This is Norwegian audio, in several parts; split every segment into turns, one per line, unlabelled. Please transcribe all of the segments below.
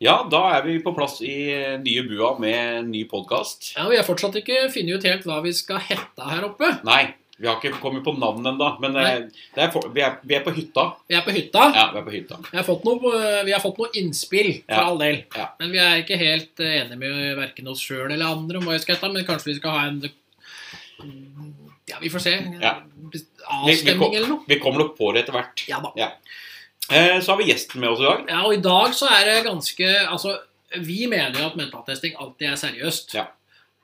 Ja, da er vi på plass i eh, nye bua med ny podkast.
Ja, Vi har fortsatt ikke funnet ut helt hva vi skal hette her oppe.
Nei, vi har ikke kommet på navn ennå, men eh, det er for, vi, er, vi er på hytta.
Vi er på hytta.
Ja, vi er på hytta.
Vi, har fått noe, eh, vi har fått noe innspill, for
Ja.
all del.
Ja.
Men vi er ikke helt eh, enige med verken oss sjøl eller andre om hva vi skal hete. Men kanskje vi skal ha en Ja, vi får se.
Ja. Vi, vi, kom,
Avstemning eller noe.
vi kommer nok på det etter hvert.
Ja da.
Eh, så har vi gjesten med oss i dag.
Ja, og i dag så er det ganske Altså, vi mener jo at mentaltesting alltid er seriøst.
Ja.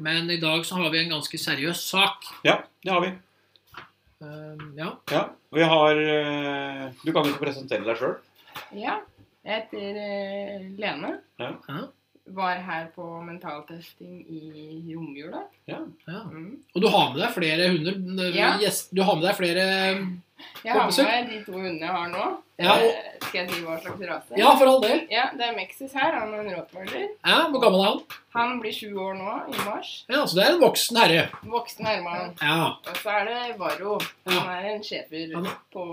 Men i dag så har vi en ganske seriøs sak.
Ja, det har vi.
Eh, ja.
Ja, vi har eh, Du kan jo få presentere deg sjøl.
Ja, jeg heter eh, Lene.
Ja.
Ja.
Var her på mentaltesting i romjula.
ja.
Mm.
Og du har med deg flere hunder?
Ja.
Gjest- Du har med deg flere På
Jeg har med
besøk?
meg de to hundene jeg har nå.
Ja, og,
Eh, Skal jeg si hva slags rase?
ja for all del.
Ja, det er Mexis her. Han er en rottweiler.
Ja, Hvor gammel er han?
Han blir sju år nå, i mars.
Ja, Så det er en voksen herre.
Voksen Herman.
Ja.
Og så er det Varro. Han er en schæfer
Han-
på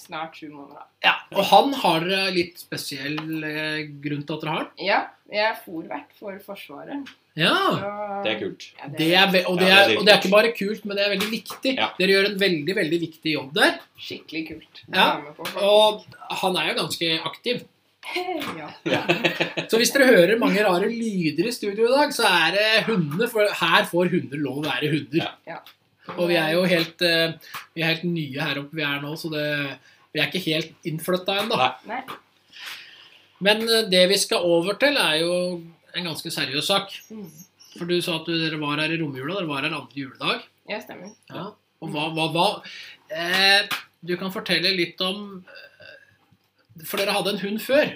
snart sju måneder. da.
ja. Og han har dere litt spesiell eh, grunn til at dere har han.
Ja, jeg er forvert for Forsvaret.
Ja.
så-
Det er kult.
Ja,
Det er, ve- og, det
Ja, det er
er, og det er ikke bare kult, men det er veldig viktig.
Ja.
Dere gjør en veldig veldig viktig jobb der.
skikkelig kult. å
Ja,
være med på,
Og han er jo ganske aktiv.
faktisk. ja.
Så hvis dere hører mange rare lyder i studio i dag, så er det hundene. For her får hunder lov å være hunder. Og vi er jo helt, eh, vi er helt nye her oppe vi er nå, så det, vi er ikke helt innflytta ennå.
Nei.
Nei.
Men eh, det vi skal over til, er jo en ganske seriøs sak.
Mm.
For du sa at du, dere var her i romjula. Dere var her andre juledag.
Ja, stemmer.
Ja. Og hva, hva, hva? Eh, du kan fortelle litt om eh, For dere hadde en hund før.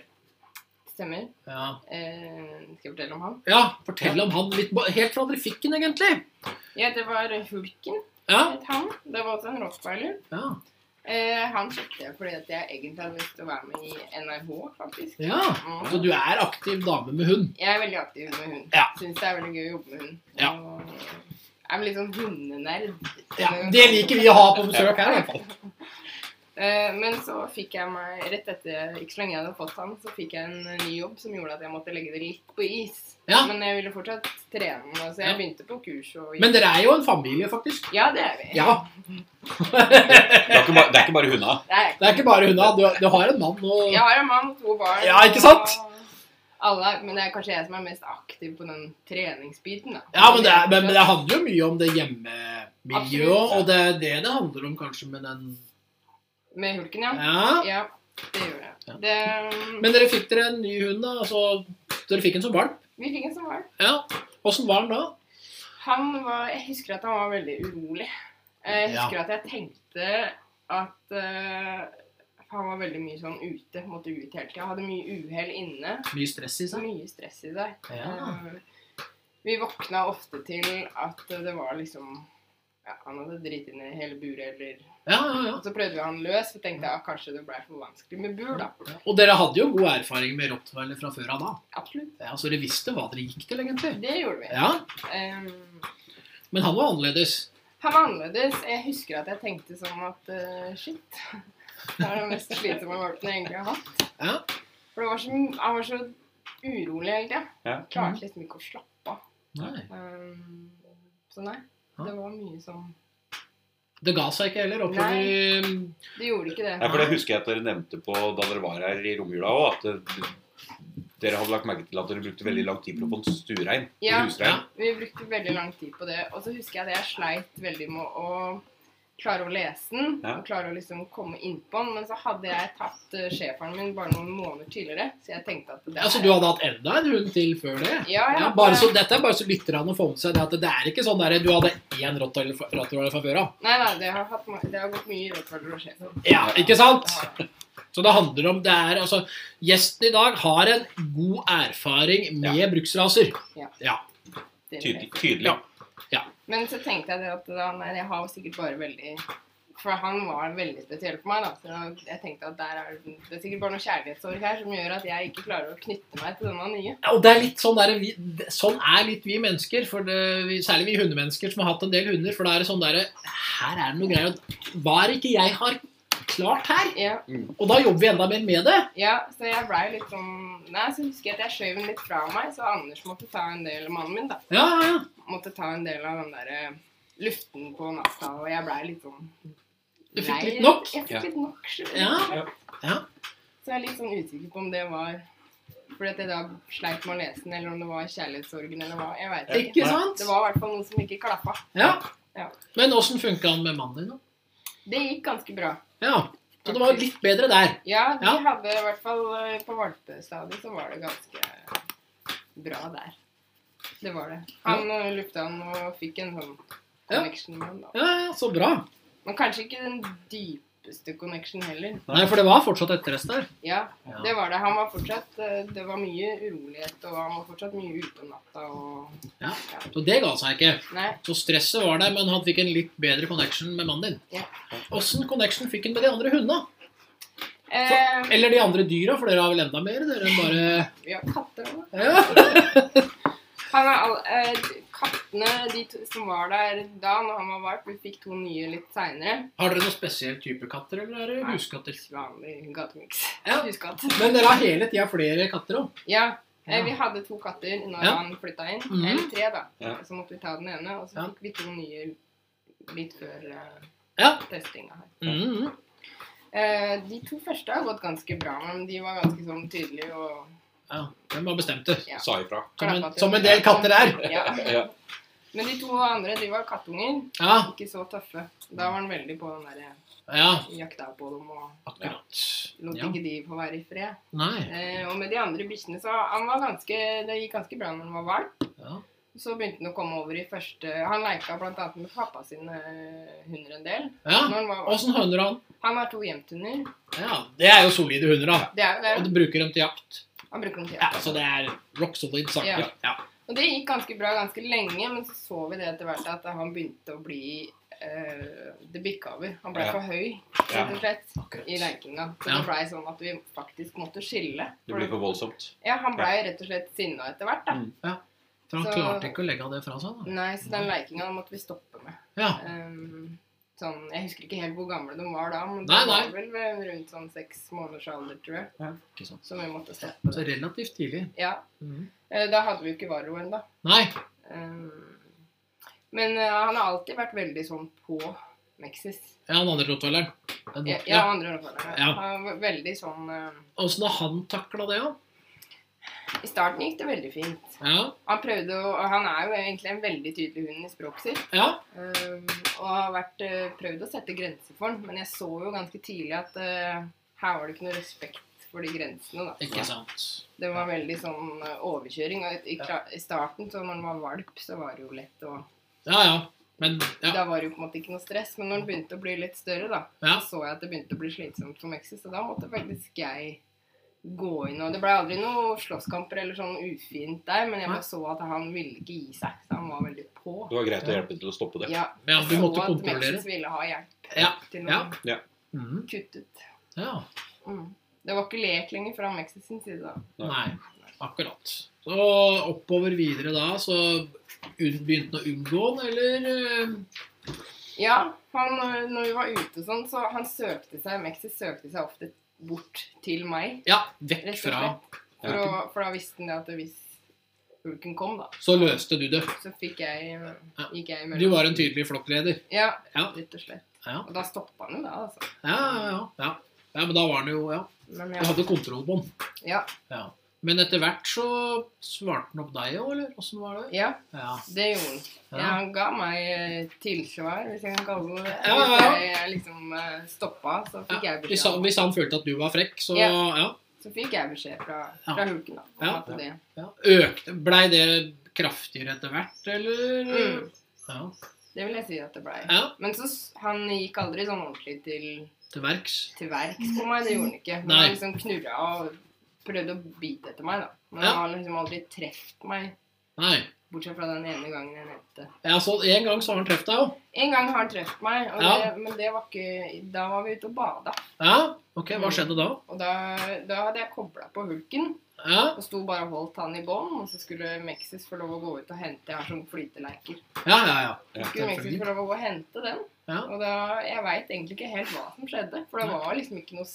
Stemmer.
Ja,
Eh, skal jeg fortelle om han?
ja fortell om han litt. ba- Helt fra dere fikk den, egentlig.
Ja, det var Hulken.
Ja,
Het han. Det var også en rottweiler.
ja,
Eh, han kjøpte jeg fordi at jeg egentlig hadde lyst til å være med i NRH, faktisk.
ja. Så
Mm.
du er aktiv dame med hund.
Jeg er veldig aktiv med hund.
Ja.
Syns det er veldig gøy å jobbe med hund.
Ja.
Og jeg er vel litt sånn hundenerd.
Ja, Det liker vi å ha på besøk her, i hvert fall.
Eh, men så fikk jeg meg, rett etter ikke så lenge jeg hadde fått han, så fikk jeg en ny jobb som gjorde at jeg måtte legge det litt på is.
Ja.
Men jeg ville fortsatt trene, så jeg
Ja.
begynte på kurs og
Men dere er jo en familie, faktisk.
Ja, det er vi.
Ja.
Det er ikke bare, det er ikke bare hundene.
Det er
Det er ikke bare hundene. Du, du har en mann og
Jeg har en mann og to barn.
Ja, ikke sant?
og Alle, men det er kanskje jeg som er mest aktiv på den treningsbiten. da.
Ja, men det, er, men, men det handler jo mye om det hjemmemiljøet,
Absolutt.
og det er det det handler om kanskje med den
Med hulken, ja.
Ja.
Ja, det gjør det.
Ja.
det um,
Men dere fikk dere en ny hund, da. Altså, dere fikk en som valp.
vi fikk en som var.
Ja. Åssen var den da?
Han var Jeg husker at han var veldig urolig. Jeg husker at jeg tenkte at eh, han var veldig mye sånn ute. Måtte ut hele tida. Hadde mye uhell inne.
Mye stress i
Så
seg.
mye stress i det.
Ja.
Eh, Vi våkna ofte til at det var liksom ja, Han hadde driti ned hele buret, eller
Ja, ja,
Og så prøvde vi han løs, for tenkte jeg at kanskje det ble for vanskelig med bur, da.
ja. Og dere hadde jo god erfaring med rottweiler fra før av da.
Absolutt.
Ja, så dere visste hva dere gikk til, egentlig.
Det gjorde vi.
Ja,
Ehm,
Men han var annerledes.
han var annerledes. Jeg husker at jeg tenkte sånn at eh, shit. Det er den mest slitsomme valpen jeg egentlig har hatt.
Ja.
For det var så, m- han var så urolig hele tida.
Ja.
Mhm.
Klarte liksom ikke å slappe av.
Nei.
Ehm, så nei. Det var mye som
Det ga seg ikke heller oppover
Det gjorde ikke det.
Ja, for det husker jeg at dere nevnte på da dere var her i romjula òg, at eh, dere hadde lagt merke til at dere brukte veldig lang tid på å få en stuerein.
Ja.
en Husrein.
Vi brukte veldig lang tid på det. Og så husker jeg at jeg sleit veldig med å klare å lese den.
Ja.
Og klare å liksom komme innpå den. Men så hadde jeg tatt eh, schæferen min bare noen måneder tidligere. Så jeg tenkte at det
Altså, du hadde hatt enda en hund til før det?
Ja, ja.
Ja, bare så, dette er bare så lytterne får med seg det at det er ikke sånn der du hadde én rottweiler fra rottweiler fra før av.
Nei, nei, det har, hatt, ma- det har gått mye rottweiler og schæfer.
Ja, ikke sant?
Det har det.
Så det handler om det er, altså, Gjesten i dag har en god erfaring med bruksraser.
Det er
Tydelig.
det.
tydelig.
Ja.
Men så tenkte jeg det at da, nei, jeg har jo sikkert bare veldig For han var veldig spesiell for meg, da. Så da- jeg tenkte at der er det det er sikkert bare noe kjærlighetssorg her som gjør at jeg ikke klarer å knytte meg til denne nye.
Ja, Og det er litt sånn, der, vi, det- sånn er litt vi mennesker, for det, vi, særlig vi hundemennesker som har hatt en del hunder. For da er det sånn derre Her er det noe greier. at Hva er det ikke jeg har klart her.
Ja,
Og da jobber vi enda mer med det.
ja, så jeg blei litt sånn Nei, så husker jeg at jeg skjøv den litt fra meg, så Anders måtte ta en del mannen min, da.
Ja, ja, ja.
Måtte ta en del av den derre luften på natta, og jeg blei litt sånn
Du fikk
lei.
litt nok?
Jeg
Ja.
fikk litt nok. skjønner du.
Ja. Ja.
Så jeg er litt sånn usikker på om det var fordi at jeg da sleit med å lese den, eller om det var kjærlighetssorgen, eller hva. Jeg vet ikke.
Ikke sant?
Det var i hvert fall noen som ikke klappa.
Ja.
Ja.
Men åssen funka han med mannen din, da?
Det gikk ganske bra.
Ja. Så det var litt bedre der.
Ja, de
Ja.
hadde i hvert fall eh, på valpestadiet så var det ganske bra der. Det var det. Han eh, lufta han og fikk en sånn
Ja.
connection med han da.
Ja, ja, så bra.
Men kanskje ikke den dypeste connection heller.
Nei, for det var fortsatt etterrest der.
Ja,
Ja.
det var det. Han var fortsatt eh, Det var mye urolighet, og han var fortsatt mye ute om natta og
Så det ga seg ikke.
Nei.
Så stresset var der, men han fikk en litt bedre connection med mannen din.
Ja.
Åssen connection fikk han med de andre hundene?
Eh,
Eller de andre dyra, for dere har vel enda mer? Dere enn bare
vi har katter òg.
ja.
Han er all, eh, kattene de to, som var der da når han var valp, vi fikk to nye litt seinere.
Har dere noen spesiell type katter, eller er det
Nei.
huskatter?
Vanlig gatemiks.
Ja.
Huskatt.
Men dere har hele tida flere katter òg.
Ja. eh,
Ja.
Vi hadde to katter når
Ja.
han flytta inn.
Mhm.
Eller tre, da.
Ja.
Så måtte vi ta den ene. Og så
Ja.
fikk vi to nye litt før eh,
Ja.
testinga her.
Mm.
Eh, de to første har gått ganske bra, men de var ganske sånn tydelige og
ja. Hvem har bestemt det?
Ja.
Sa ifra.
Som en, som en del katter er.
Ja.
Ja.
Men de to andre de var kattunger.
Ja,
Ikke så tøffe. Da var han veldig på den der eh,
ja,
jakta på dem og
akkurat.
lot
Ja.
ikke de få være i fred.
Nei.
Eh, og med de andre bikkjene så han var ganske, Det gikk ganske bra når han var valp.
Ja.
Så begynte han å komme over i første Han leika bl.a. med pappa sine eh, hunder en del.
ja.
Når han, var, valp.
Åssen høner han?
han har to gjemthunder.
Ja, Det er jo solide hunder, da.
Det er jo
Og
det.
du bruker dem til jakt.
Han bruker dem til
Ja,
jakt.
Så det er rock solid
Ja.
saker. Ja.
Og det gikk ganske bra ganske lenge, men så så vi det etter hvert at han begynte å bli eh, Det bikka over. Han ble
Ja.
for høy,
Ja.
rett og slett, i
Akkurat.
leikinga. Så
Ja.
det blei sånn at vi faktisk måtte skille.
Det blir for voldsomt.
Ja, han blei rett og slett sinna etter hvert, da.
Mm.
For han
Så- Mm.
klarte ikke å legge det fra seg, da.
Nei, så den leikinga måtte vi stoppe med.
Ja.
Ehm, sånn, jeg husker ikke helt hvor gamle de var da, men de
Nei, nei.
var vel ved rundt sånn seks måneders alder, tror jeg.
Ikke sant.
Som vi måtte stoppe.
Så relativt tidlig.
Ja,
Mhm.
eh, Da hadde vi jo ikke Varro ennå.
Nei.
Ehm, men eh, han har alltid vært veldig sånn på Mexis.
Ja, den andre rottweileren. Den
Ja,
borte.
ja, andre rottweilere.
Ja.
Han var Veldig sånn eh,
Åssen har han takla det, da?
I starten gikk det veldig fint.
Ja.
Han prøvde å og Han er jo egentlig en veldig tydelig hund i språket sitt.
ja.
Ehm, og har vært, eh, prøvd å sette grenser for den, men jeg så jo ganske tidlig at eh, her var det ikke noe respekt for de grensene. da.
Ikke sant.
Det var veldig sånn eh, overkjøring. Og i, kla- I starten, så når den var valp, så var det jo lett å
Ja, ja. Men ja.
Da var det jo på en måte ikke noe stress. Men når den begynte å bli litt større, da,
Ja.
så så jeg at det begynte å bli slitsomt for Mexi, så da måtte faktisk jeg gå inn. Og det ble aldri noe slåsskamper eller sånn ufint der, men jeg
Nei.
bare så at han ville ikke gi seg. Så han var veldig på.
Det var greit å hjelpe til å stoppe det.
Ja,
ja, du måtte
så at
kontrollere.
Mexis ville ha hjelp
Ja,
til
ja.
noe
Mhm.
kuttet.
Ja.
Mm. Det var ikke lek lenger fra Mexis sin side da.
Nei. Akkurat. Så oppover videre da, så un- begynte han å unngå den, eller eh,
Ja, han, øh, når vi var ute og sånn, så han søkte seg, Mexi søkte seg ofte bort til meg,
Ja, vekk
rett og
fra
slett. For,
Ja.
å, for da visste han det at hvis hulken kom, da,
Så løste du det.
så fikk jeg, øh, gikk jeg
Du
imellom.
var en tydelig flokkleder.
Ja,
Ja.
rett og slett.
Ja.
Og da stoppa han jo da, altså.
Ja, ja, ja. ja. ja men da var han jo Ja.
Men
Du
ja,
hadde kontroll på den.
ja,
Ja. Men etter hvert så svarte han opp deg òg, eller åssen var det?
ja,
Ja.
det gjorde
Ja.
han. Ja, han ga meg øh, tilsvar, hvis jeg kan kalle det det.
Ja, ja, ja.
Hvis jeg liksom øh, stoppa, så fikk
Ja,
jeg
hvis, han,
beskjed,
hvis han følte at du var frekk, så ja.
Ja.
ja,
så fikk jeg beskjed fra,
Ja.
fra hulken, da. om
Ja.
at det-
Økte Blei det kraftigere etter hvert, eller?
Mm.
Ja.
Det vil jeg si at det blei.
ja.
Men så, s- han gikk aldri sånn ordentlig til,
Til verks.
til verks på meg. Det gjorde han ikke. Men
Nei.
han liksom knurra og prøvde å bite etter meg, da. Men
Ja.
han har liksom aldri truffet meg,
Nei.
bortsett fra den ene gangen jeg nevnte.
Ja, så En gang så har han truffet deg òg.
En gang har han truffet meg, og
Ja.
det, men det var ikke Da var vi ute og bada.
Ja. Ok,
Mm.
hva skjedde da?
Og da, da hadde jeg kobla på hulken
Ja.
og sto bare og holdt han i bånd. Og så skulle sånn Mexis få lov å gå ut og hente Jeg har sånne flyteleiker.
Ja, ja, ja.
Skulle Mexis få lov å gå og hente den?
Ja.
Og da, jeg veit egentlig ikke helt hva som skjedde. For det
Nei.
var liksom ikke noe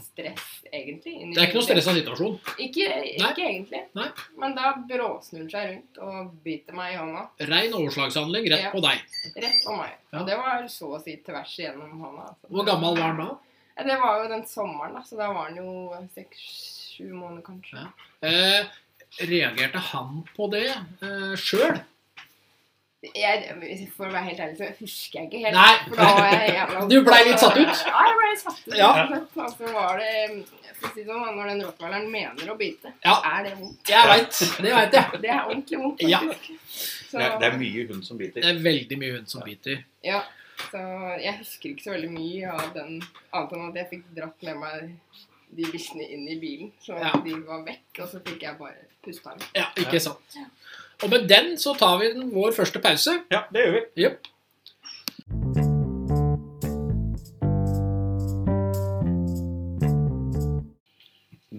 stress, egentlig. inni
Det er ikke noe
bildet.
stressa situasjon.
Ikke, ikke egentlig.
Nei.
Men da bråsnur han seg rundt og biter meg i hånda.
Rein overslagshandling rett
Ja.
på deg.
Rett på meg.
Ja.
Og det var så å si tvers igjennom hånda. altså.
Hvor gammel var han da?
Ja, Det var jo den sommeren, da, så da var han jo seks-sju måneder, kanskje.
Ja. Eh, reagerte han på det eh, sjøl?
Jeg, for å være helt ærlig, så husker jeg ikke helt.
Nei.
For da var jeg jævla
Du ble litt satt ut?
Ja, jeg ble litt satt ut.
Ja.
Og så var det for å si det sånn, Når den rottweileren mener å bite,
Ja.
er det vondt.
Jeg veit. Det veit jeg.
Det er ordentlig vondt,
Ja.
faktisk. Så,
Det er, det er mye hund som biter.
Det er veldig mye hund som biter.
ja. så jeg husker ikke så veldig mye av den, annet enn at jeg fikk dratt med meg de bikkjene inn i bilen. Så
Ja.
de var vekk, og så fikk jeg bare pusta dem.
Ja, ikke sant. Og med den så tar vi den, vår første pause.
Ja, det gjør vi.
Jep.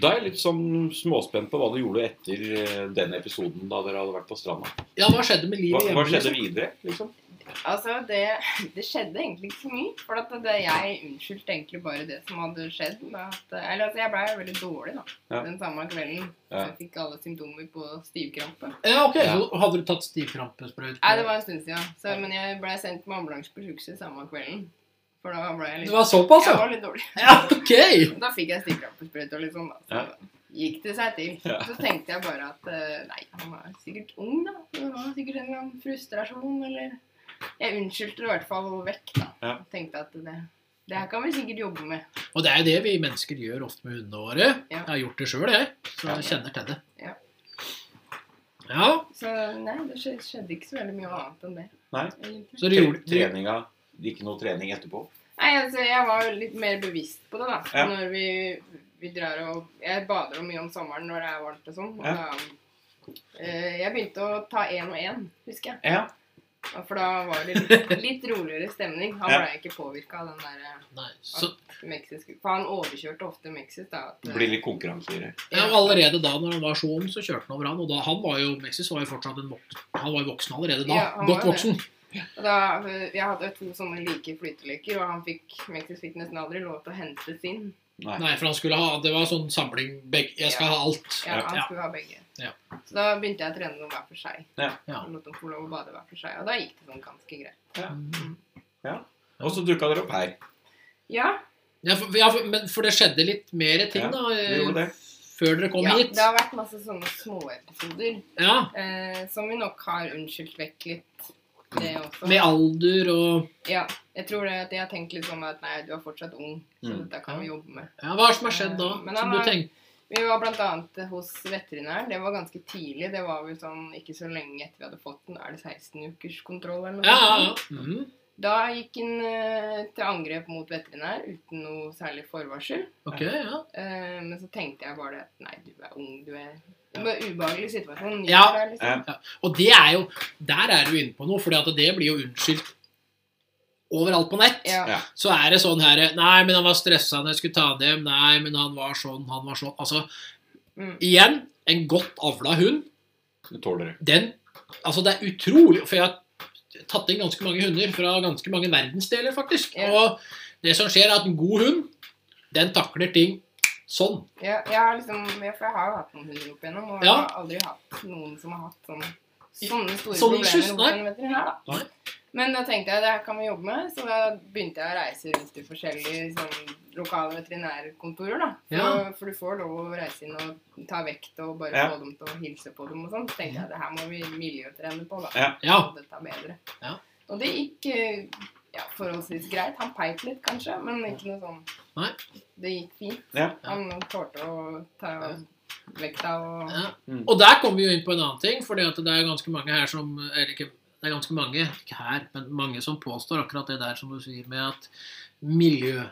Da er jeg litt sånn småspent på hva du gjorde etter eh, den episoden da dere hadde vært på stranda.
Ja, hva skjedde med
Hva,
livet hjemme?
hva skjedde
liksom?
videre, liksom?
Altså, det, det skjedde egentlig ikke så mye. For at det, jeg unnskyldte egentlig bare det som hadde skjedd. Med at, eller altså, jeg blei veldig dårlig da,
Ja.
den samme kvelden. Så
Ja.
jeg fikk alle symptomer på stivkrampe.
Ja, ok, så Hadde du tatt stivkrampesprøyte?
Nei, det var en stund siden. Så, men jeg blei sendt med ambulanse på sjukehuset samme kvelden. For da ble jeg
Det
litt,
var såpass,
jeg
ja?
var litt dårlig.
ja ok.
Da fikk jeg stivkrampesprøyte og litt sånn, da. Så gikk det seg til.
Ja.
Så tenkte jeg bare at eh, nei, han er sikkert ung, da. Så Det var sikkert en eller annen frustrasjon, eller Jeg unnskyldte det i hvert fall vekk, da.
Ja.
Tenkte at det, det her kan vi sikkert jobbe med.
Og det er jo det vi mennesker gjør ofte med hundene våre.
Ja.
Jeg har gjort det sjøl, jeg. Så jeg kjenner til det.
Ja.
Ja,
Så nei, det skje- skjedde ikke så veldig mye annet enn det.
Nei.
egentlig.
så du
Tre-
gjorde du-
Treninga Ikke noe trening etterpå?
Nei, altså, jeg var jo litt mer bevisst på det, da.
Ja.
Når vi, vi drar og Jeg bader jo mye om sommeren når det er varmt og sånn. og
Ja.
da, eh, Jeg begynte å ta én og én, husker jeg.
Ja.
Ja, For da var det litt, litt roligere stemning. Han
Ja.
ble ikke påvirka av den der eh,
Nei, så,
meksiske For han overkjørte ofte Mexis, da. At,
Det
eh,
blir litt konkurranse i det.
ja, og Allerede da når han var så ung, så kjørte han over han. Og da, han var jo Mexis var jo fortsatt en vok- han var jo voksen allerede da.
Ja, han
Godt
var det.
voksen.
og da, eh, jeg hadde to sånne like flyteleker, og han fikk, Mexis fikk nesten aldri lov til å hente sin.
Nei.
Nei, for han skulle ha Det var sånn samling begge, Jeg skal
Ja.
ha alt.
Ja, han
Ja.
skulle ha begge.
Ja.
Så da begynte jeg å trene dem hver for seg.
Ja.
Og lot dem få lov å bade hver for seg. Og da gikk det sånn ganske greit.
Og så dukka dere opp her.
Ja,
Ja, for, ja, for, men for det skjedde litt mer ting
Ja,
da
Vi gjorde
eh,
det.
før dere kom
ja
hit.
det har vært masse sånne småepisoder
Ja,
eh, som vi nok har unnskyldt vekk litt. Det også.
Med alder og
Ja. Jeg tror det at jeg har tenkt litt sånn at nei, du er fortsatt ung, så
Mm.
dette kan vi jobbe med.
ja, Hva er det som har skjedd da?
Eh, Men
Som du
han er-
tenk,
Vi var bl.a. hos veterinæren. Det var ganske tidlig. Det var vel sånn ikke så lenge etter vi hadde fått den. Er det 16 ukers kontroll eller noe?
ja, ja,
sånt?
ja. Mhm.
Da gikk han eh, til angrep mot veterinær uten noe særlig forvarsel.
Ok, ja.
Eh, men så tenkte jeg bare det at nei, du er ung, du er Det var en ubehagelig situasjon. Ny
Ja.
for deg, liksom.
Og det er jo, der er du inne på noe, for det blir jo unnskyldt overalt på nett.
Ja.
Ja.
Så er det sånn her Nei, men han var stressa når jeg skulle ta han hjem. Nei, men han var sånn, han var sånn. Altså,
Mm.
igjen, en godt avla hund,
Det tåler dere.
den Altså, det er utrolig For jeg har tatt inn ganske mange hunder fra ganske mange verdensdeler, faktisk.
Ja.
Og det som skjer, er at en god hund, den takler ting sånn.
Ja, jeg har liksom, ja, for jeg har jo hatt noen hunder opp igjennom, og
Ja.
jeg har aldri hatt noen som har hatt sånne, sånne store
Sånne
problemer
issues,
hos
Sånn nei.
en veterinær. da.
Nei.
Men da tenkte jeg det her kan vi jobbe med, så da begynte jeg å reise rundt til forskjellige sånn, lokale veterinærkontorer. da. For,
Ja.
for du får lov å reise inn og ta vekt og bare
Ja.
få dem til å hilse på dem og sånn. Så tenkte jeg det her må vi miljøtrene på, da.
Ja.
Ja.
Og dette er bedre.
Ja.
Og det gikk eh, ja, forholdsvis greit. Han peip litt, kanskje, men ikke noe sånn
Nei.
Det gikk fint.
Ja.
Han tålte å ta vekta og
Ja.
Mm.
Og der kommer vi jo inn på en annen ting, for det er ganske mange her som Eller ikke, det er ganske mange, ikke her, men mange som påstår akkurat det der som du sier med at miljø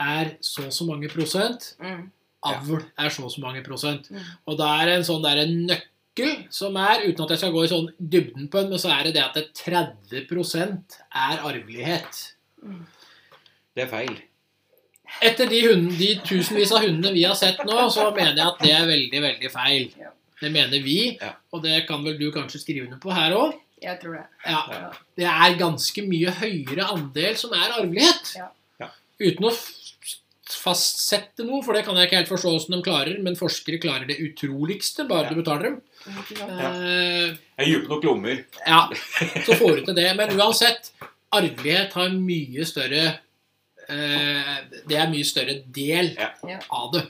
er så og så mange prosent,
mm.
avl er så og så mange prosent.
Mm.
Og det er en sånn der nøkkel som er, uten at jeg skal gå i sånn dybden på den, men så er det det at det 30 er arvelighet.
Det er feil.
Etter de, hundene, de tusenvis av hundene vi har sett nå, så mener jeg at det er veldig, veldig feil.
Ja.
Det mener vi,
Ja.
og det kan vel du kanskje skrive under på her òg?
Jeg tror det.
Ja.
Ja.
Det er ganske mye høyere andel som er arvelighet.
Ja.
Ja.
Uten å f- fastsette noe, for det kan jeg ikke helt forstå hvordan de klarer, men forskere klarer det utroligste,
Ja.
bare du betaler dem.
Ikke sant?
Ja.
Eh,
Jeg er dype nok lommer.
ja, så får du til det. Men uansett, arvelighet har mye større eh, Det er mye større del
Ja.
Ja.
av det.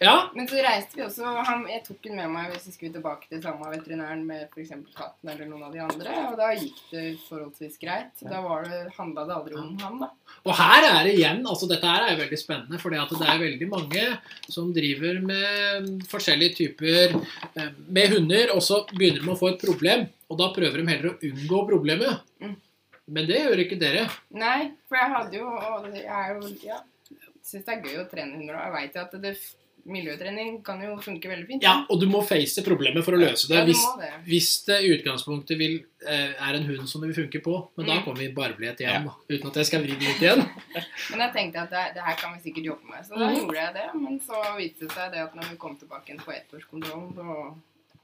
Ja,
Men så reiste vi også han, Jeg tok den med meg hvis vi skulle tilbake til samme veterinæren med f.eks. katten eller noen av de andre, og da gikk det forholdsvis greit. Da var det, handla det aldri om han, da.
Og her er det igjen, altså dette her er jo veldig spennende, for det er veldig mange som driver med forskjellige typer eh, med hunder, og så begynner de å få et problem, og da prøver de heller å unngå problemet.
Mm.
Men det gjør ikke dere.
Nei, for jeg hadde jo Og jeg er jo Ja. Syns det er gøy å trene hunder, og jeg veit jo at det, miljøtrening kan jo funke veldig fint.
Ja, Og du må face problemet for å løse det.
Ja, du
Hvis,
må det.
hvis det i utgangspunktet vil, eh, er en hund som det vil funke på, men da
Mm.
kommer vi barbelighet igjen, da, uten at jeg skal vri det litt igjen.
Men jeg tenkte at det, det her kan vi sikkert jobbe med, så da
Mhm.
gjorde jeg det. Men så viste det seg det at når vi kom tilbake igjen på ettårskontrollen, så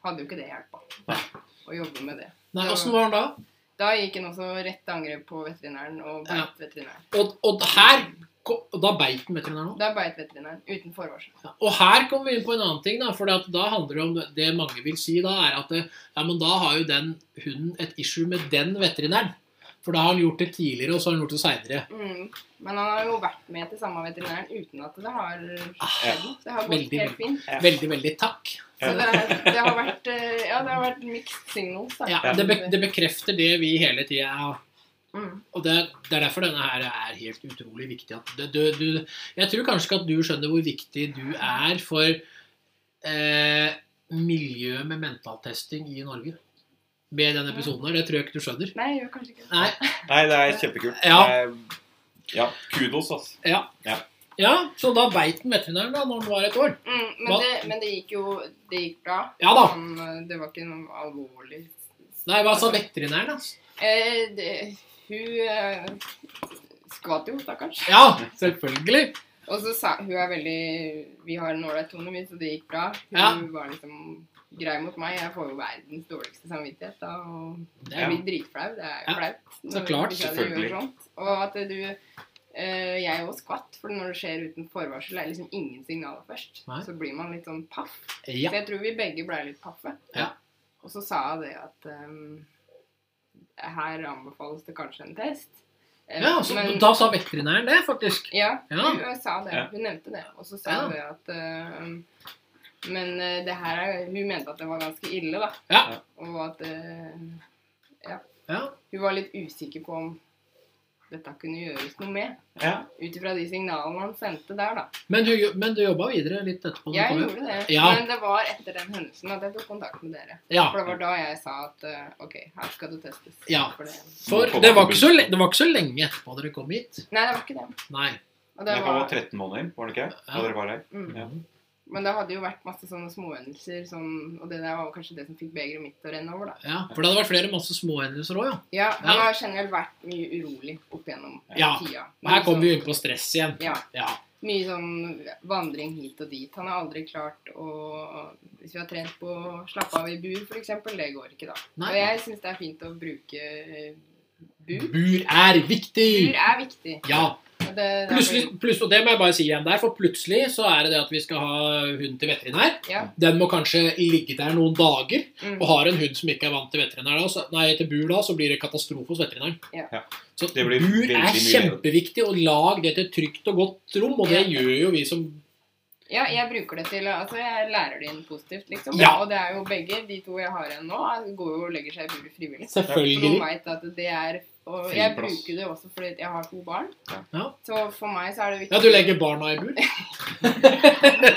hadde jo ikke det hjelpa å jobbe med det.
Nei, åssen var den da?
Da gikk han også rett til angrep på veterinæren og beit
Ja.
veterinæren.
Og, og her kom- og Da beit den veterinæren òg?
Da beit veterinæren uten forvarsel.
Ja, Og her kommer vi inn på en annen ting, da, for da handler det om det mange vil si da, er at eh, ja, men da har jo den hunden et issue med den veterinæren. For da har han gjort det tidligere, og så har han gjort det seinere.
Mm. Men han har jo vært med til samme veterinæren uten at det har skjedd noe. Det har gått
Ah, Veldig,
helt fint.
Ja.
Veldig, veldig takk.
Så det, er- det har vært eh, Ja, det har vært mixed signals, da.
Ja, det, be det bekrefter det vi hele tida har.
Mm.
Og det, det er derfor denne her er helt utrolig viktig. At det, du, du, jeg tror kanskje ikke at du skjønner hvor viktig du er for eh, miljøet med mentaltesting i Norge. Med den episoden her. Det tror jeg ikke du skjønner.
Nei, jeg gjør kanskje ikke det.
Nei,
Nei, det er kjempekult.
Ja.
Det er- ja. Kudos, altså.
Ja.
Ja.
Ja, Så da beit den veterinæren da når den var et år?
Mm, men,
Hva-
det, men det gikk jo Det gikk bra.
Ja da.
Han, eh, det var ikke noe alvorlig
Nei, hva sa veterinæren, da?
eh, det, Hun eh, skvatt jo, stakkars.
Ja, selvfølgelig.
Og så sa hun er veldig Vi har en ålreit tone, vi, så det gikk bra. Hun
Ja.
var liksom grei mot meg. Jeg får jo verdens dårligste samvittighet. Da, og
Det
Ja.
jeg blir dritflau. Det er
Ja,
jo flaut.
så klart,
hvis jeg hadde gjort
selvfølgelig.
sånt. Og at du eh, Jeg òg skvatt, for når det skjer uten forvarsel, er liksom ingen signaler først.
Nei.
Så blir man litt sånn paff.
Ja.
Så jeg tror vi begge ble litt paffe.
Ja.
Og så sa jeg det at ehm, her anbefales det kanskje en test. Eh,
ja så
men-
Da sa veterinæren det, faktisk.
ja,
Ja.
Hun, hun sa det.
Ja.
Hun nevnte det. Og så sa
Ja.
hun det at ehm, Men eh, det her er Hun mente at det var ganske ille, da.
Ja.
Og at eh,
Ja.
hun var litt usikker på om dette kunne gjøres noe med.
Ja.
Ut ifra de signalene han sendte der, da.
Men, du, men du jobba videre litt etterpå? når du
Jeg
kom hjem.
gjorde det.
Ja.
Men det var etter den hendelsen at jeg tok kontakt med dere.
Ja.
For det var da jeg sa at eh, OK, her skal du testes.
Ja.
For det.
For det var, ikke så, le- det var ikke så lenge etterpå dere kom hit.
Nei, det var ikke det.
Nei.
Og
Det
det
var
var,
13 måneder, var det ikke? Da
Ja.
dere var her.
mm.
Ja.
Men det hadde jo vært masse sånne småhendelser, sånn, og det der var kanskje det som fikk begeret mitt til å renne over, da.
Ja, For det hadde vært flere masse småhendelser òg, ja.
Ja, men jeg
Ja.
har generelt vært mye urolig opp gjennom
Ja,
tida.
Og her kommer vi inn på stress igjen.
Ja.
Ja.
Mye sånn vandring hit og dit. Han har aldri klart å Hvis vi har trent på å slappe av i bur, f.eks., det går ikke da.
Nei.
Og jeg syns det er fint å bruke eh, bur.
Bur er viktig!
Bur er viktig.
Ja.
Og det, det er
Plutselig, plutselig, og det må jeg bare si igjen der, for plutselig så er det det at vi skal ha hund til veterinær.
bare- ja.
Den må kanskje ligge der noen dager.
mm.
Og har en hund som ikke er vant til veterinær da, så, nei, til bur da, så blir det katastrofe hos veterinæren.
Ja.
Ja.
Så
Det blir
bur
veldig
er
mye
kjempeviktig, og lag det til et trygt og godt rom, og det
Ja.
gjør jo vi som
Ja, jeg bruker det til Altså, jeg lærer det inn positivt, liksom.
Ja.
Og det er jo begge de to jeg har igjen nå, er- går jo og legger seg i buret frivillig. For
selvfølgelig
noen vet at det er Og
Fin
jeg
plass.
bruker det også fordi at jeg har to barn.
Ja.
Så for meg så er det viktig
Ja, du legger barna i bur?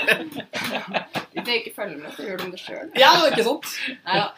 Hvis jeg ikke følger med, så gjør de det sjøl.
Ja, ikke sant?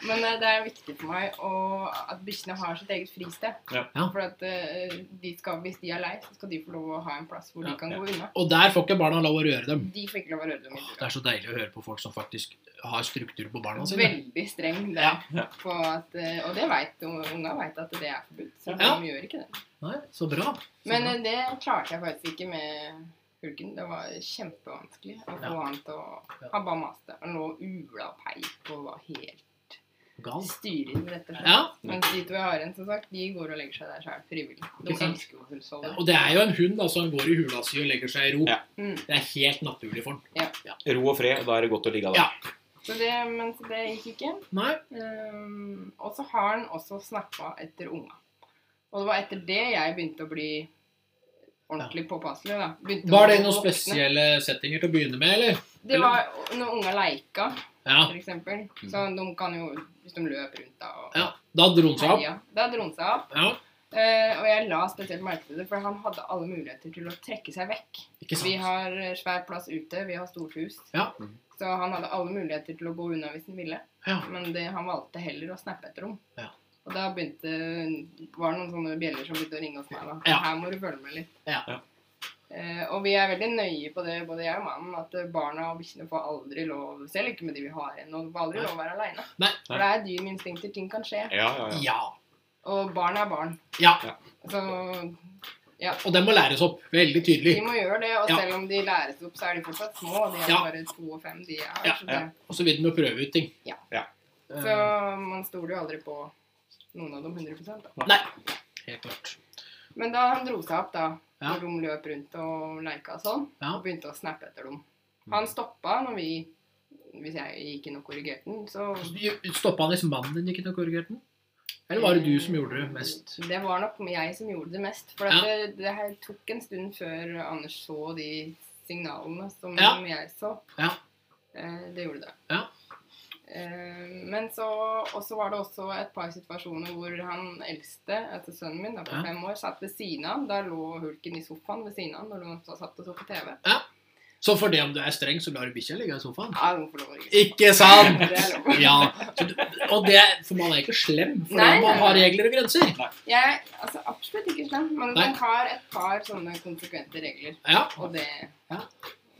Men eh, det er viktig for meg å, at bikkjene har sitt eget fristed.
Ja.
Ja.
For at eh, de skal, hvis de er lei, så skal de få lov å ha en plass hvor
Ja.
de kan
Ja.
gå unna.
Og der får ikke barna lov å røre dem.
De får ikke lov å røre dem i
Åh,
buret.
Det er så deilig å høre på folk som faktisk har struktur på barna sine.
Veldig streng der.
Ja.
På at, eh, og det vet, unga vet at det er forbudt, så
Ja.
de gjør ikke det.
Nei, så bra. Så
Men
bra.
eh, det klarte jeg faktisk ikke med hulken. Det var kjempevanskelig å få
Ja.
han til å Han bare maste. Han lå og ula og peip og var helt
Gal.
styrer, rett og slett.
Ja,
Mens de to jeg har igjen, som sagt, de går og legger seg der sjøl frivillig. De
Ikke sant?
elsker jo hushold.
og det er jo en hund, altså. Han går i hula si og legger seg i ro.
Ja.
Mm.
Det er helt naturlig for han.
Ro og fred, og da er det godt å ligge av.
Ja.
Så det, men så det gikk ikke.
Nei,
Ehm, og så har han også snappa etter unga. Og det var etter det jeg begynte å bli ordentlig påpasselig. da. Begynte å
Var det
bli
noen
voksen.
spesielle settinger til å begynne med, eller?
Det var når unga leika,
Ja. Mm.
for eksempel. Så de kan jo, hvis de løp rundt da og
ja. Da dro han seg opp.
herja, da dro han seg opp.
Ja,
Eh, og jeg la spesielt merke til det, for han hadde alle muligheter til å trekke seg vekk.
ikke
Vi
sant?
har eh, svær plass ute, vi har stort hus.
Ja.
Så han hadde alle muligheter til å gå unna hvis han ville.
Ja.
Men det, han valgte heller å snappe etter dem.
Ja.
Og da begynte, var det noen sånne bjeller som begynte å ringe hos meg. da.
Ja.
Her må du følge med litt.
Ja.
Ja.
Eh, og vi er veldig nøye på det, både jeg og mannen, at eh, barna og bikkjene får aldri lov, selv ikke med de vi har igjen, og får aldri
Nei.
lov å være aleine.
Nei.
Nei.
For det er dyr med instinkter, ting kan skje.
Ja, ja, ja.
Ja.
Og barn er barn.
ja.
Så
Og den må læres opp. Veldig tydelig.
de må gjøre det, og
Ja.
selv om de læres opp, så er de fortsatt små. De er
Ja.
bare to og fem, de er.
Ja,
så
ja.
det-
Og så vil den jo prøve ut ting.
Ja.
Ja.
Så
Eh,
man stoler jo aldri på noen av dem 100 da.
Nei. Helt klart.
Men da han dro seg opp, da,
Ja.
når de løp rundt og leika og sånn,
Ja.
og begynte å snappe etter dem Han stoppa når vi Hvis jeg gikk inn og korrigerte den, så
Stoppa han hvis mannen din gikk inn og korrigerte den? Eller var det du som gjorde det mest?
Det var nok jeg som gjorde det mest. For at det, det her tok en stund før Anders så de signalene som
Ja.
jeg så.
Ja.
Eh, det gjorde det.
Ja.
Eh, men så Og så var det også et par situasjoner hvor han eldste, altså sønnen min, da, på
Ja.
fem år, satt ved siden av. Da lå hulken i sofaen ved siden av når han satt og så på TV.
Så for det om du er streng, så lar du bikkja ligge i sofaen?
Ja, hun får lov å ringe.
Ikke sant?
Det er lov.
Ja. Så, du- og det, for man er ikke slem, for
Nei,
man har
nei, nei.
regler og grenser.
Jeg altså absolutt ikke slem, men
Nei.
hun har et par sånne konsekvente regler.
Ja.
Og det,
Ja.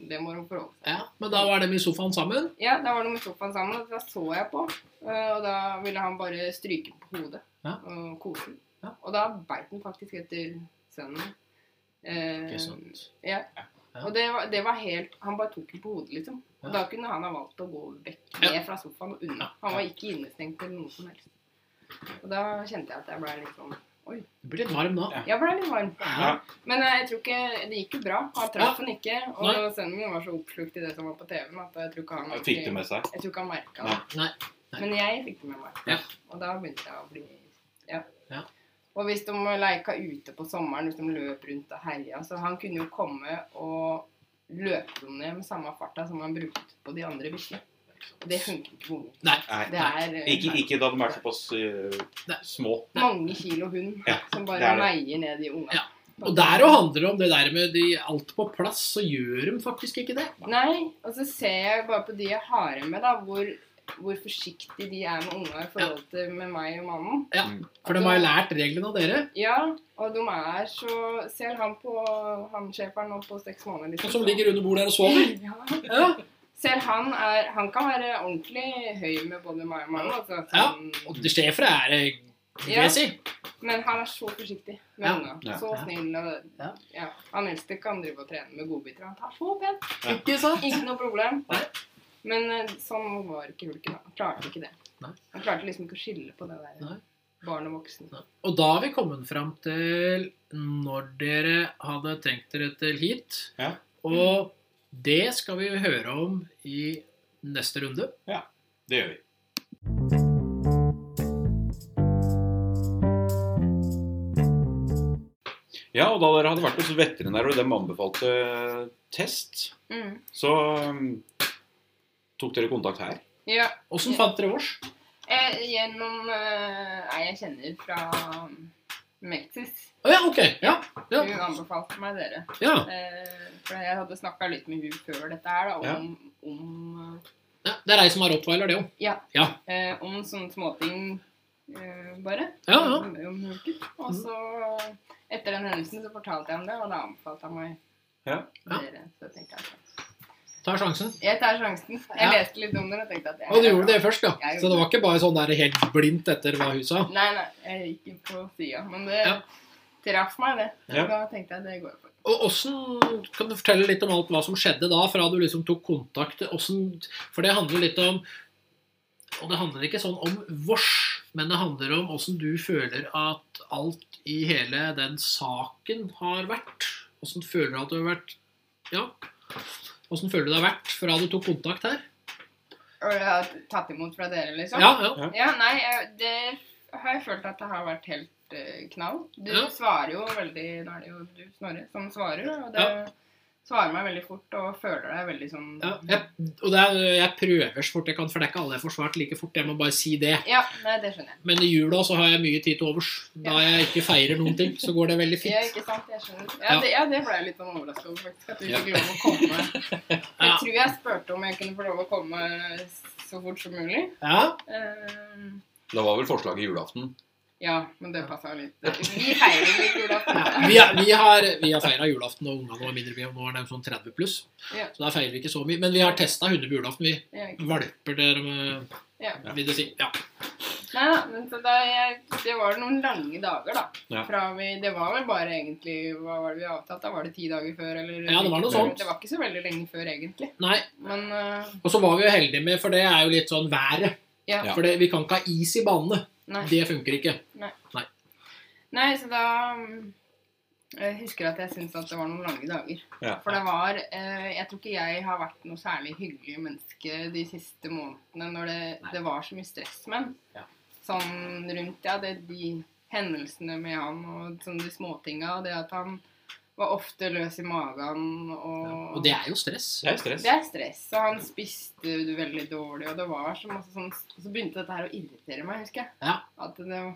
det må hun forholde seg til.
ja. Men da var dem i sofaen sammen?
Ja, da var de i sofaen sammen, og da så jeg på. Eh, Og da ville han bare stryke den på hodet
Ja.
og kose den.
Ja.
Og da beit han faktisk etter sønnen. min. Eh,
Ikke sant.
Ja.
sånn. Ja.
Og det var, det var helt Han bare tok den på hodet, liksom. Og
Ja.
Da kunne han ha valgt å gå vekk
Ja.
ned fra sofaen og unna. Han var ikke innestengt eller noe som helst. Og da kjente jeg at jeg ble litt sånn
Du blir litt varm nå.
Ja.
Jeg ble litt varm.
Ja.
Men eh, jeg tror ikke Det gikk jo bra. Han traff den ikke. Og
Nei.
sønnen min var så oppslukt i det som var på TV-en, at jeg tror ikke han
Fikk det med seg.
jeg tror ikke han merka
Nei.
det.
Nei. Nei.
Men jeg fikk det med meg.
Ja.
Og da begynte jeg å bli ja.
Ja.
Og hvis de leika ute på sommeren, hvis de løp rundt og herja Så han kunne jo komme og løpe dem ned med samme farta som han brukte på de andre bikkjene. Og det funker ikke på unger.
Nei.
Nei.
Det er eh,
Ikke, ikke da de er såpass eh,
Nei.
små.
mange kilo hund
Ja,
som
det er
bare
det.
meier ned de unga.
Ja. Og der òg handler det om det der med de, alt på plass, så gjør de faktisk ikke det.
Nei, og så ser jeg bare på de jeg har igjen med, da, hvor, hvor forsiktige de er med unga i forhold til med meg og mannen.
Ja. For de har jo lært reglene av dere.
Ja, og de er så Selv han på han sjeferen nå på seks måneder
Og som ligger under bordet der og sover.
ja.
Ja.
Selv han er Han kan være ordentlig høy med både meg og mannen. Altså,
Ja.
sånn-
Og det schæfere er eh, det, vil
Ja.
jeg si.
Men han er så forsiktig med
Ja.
unga.
Ja.
Så
Ja.
snill. Og,
Ja.
ja. Han eldste kan drive og trene med godbiter. Han tar så pent.
Ikke sant?
Ikke noe problem.
Nei.
Men eh, sånn var ikke hulken. da. Han klarte ikke det.
Nei.
Han klarte liksom ikke å skille på det der
Nei.
barn og voksen.
Og da har vi kommet fram til når dere hadde tenkt dere til hit.
Ja.
Og det skal vi høre om i neste runde.
Det gjør vi. Ja, og da dere hadde vært hos veterinær og dem anbefalte eh, test,
Mm.
så um, tok dere kontakt her.
Ja.
Åssen fant dere vårs?
Eh, gjennom eh, ei jeg kjenner fra Melksis.
Å ja, ok. Ja.
Hun
Ja.
anbefalte meg dere.
ja.
Eh, for jeg hadde snakka litt med hun før dette her, da, om, om, eh,
ja. Det er ei som har rottweiler, det òg.
ja,
Ja.
eh, om sånne småting eh, bare.
Ja, ja.
Om, om hulken. Og så, etter den hendelsen, så fortalte jeg om det, og da anbefalte han meg
Ja.
Ja.
dere. Så tenkte jeg at
Tar sjansen.
jeg tar sjansen. Jeg
Ja.
leste litt om den og tenkte at jeg
Og du gjorde det først, ja.
Jeg gjorde
Så det var ikke bare sånn der helt blindt etter hva hun sa.
Nei, nei, jeg gikk inn på sida. Men det
Ja.
traff meg, det. Så
Ja.
da tenkte jeg det går jeg for.
Og åssen Kan du fortelle litt om alt hva som skjedde da, fra du liksom tok kontakt? Åssen For det handler litt om Og det handler ikke sånn om vårs, men det handler om åssen du føler at alt i hele den saken har vært. Åssen føler du at det har vært Ja. Åssen føler du det har vært fra du tok kontakt her?
Og jeg har tatt imot fra dere, liksom?
Ja, ja.
Ja, nei, jeg- det har jeg følt at det har vært helt eh, knall. Du
Ja.
svarer jo veldig Nå er det jo du, Snorre, som svarer. Og det
Ja.
svarer meg veldig fort og føler deg veldig sånn
ja jeg, og det er, jeg prøver så fort jeg kan, for det er ikke alle jeg får svart like fort. Jeg må bare si det.
Ja, nei, det skjønner jeg.
Men i jula så har jeg mye tid til overs. Da jeg ikke feirer noen ting, så går det veldig
Ja,
fint.
ikke sant? Jeg skjønner.
Ja.
Ja, det, ja, det ble jeg litt sånn overraska over, faktisk. At du ikke fikk lov å komme.
Ja.
Jeg tror jeg spurte om jeg kunne få lov å komme så fort som mulig.
Ja,
Eh,
Det var vel forslaget i julaften.
ja, men det passa litt. Vi feirer litt julaften.
ja. Vi, er, vi har, vi har feira julaften, og ungene var mindre. vi- og Nå er de sånn 30 pluss.
Ja.
Så da feirer vi ikke så mye. Men vi har testa hunder på julaften. Vi
Ja, ikke-
valper der med
Ja.
Vil det si. Ja.
Nei da, men så da jeg, det var noen lange dager, da.
Ja.
Fra vi, det var vel bare egentlig Hva var det vi avtalte? Da var det ti dager før? Eller,
Ja, det var noe sånt.
Det var ikke så veldig lenge før, egentlig.
Nei.
Men eh,
Og så var vi jo heldige med, for det er jo litt sånn været.
ja.
Ja.
For det, vi kan ikke ha is i banene.
Nei.
Det funker ikke.
Nei, så da mm, Jeg husker at jeg syntes at det var noen lange dager.
Ja.
For det var eh, Jeg tror ikke jeg har vært noe særlig hyggelig menneske de siste månedene når det, det var så mye stress med han.
Ja.
Sånn rundt ja, det, de hendelsene med han og sånn de småtinga. Og det at han var ofte løs i magen og
Og det er jo stress.
Det er stress.
det er stress, og han spiste veldig dårlig, og det var så masse sånn Så begynte dette her å irritere meg, husker jeg.
Ja.
At det var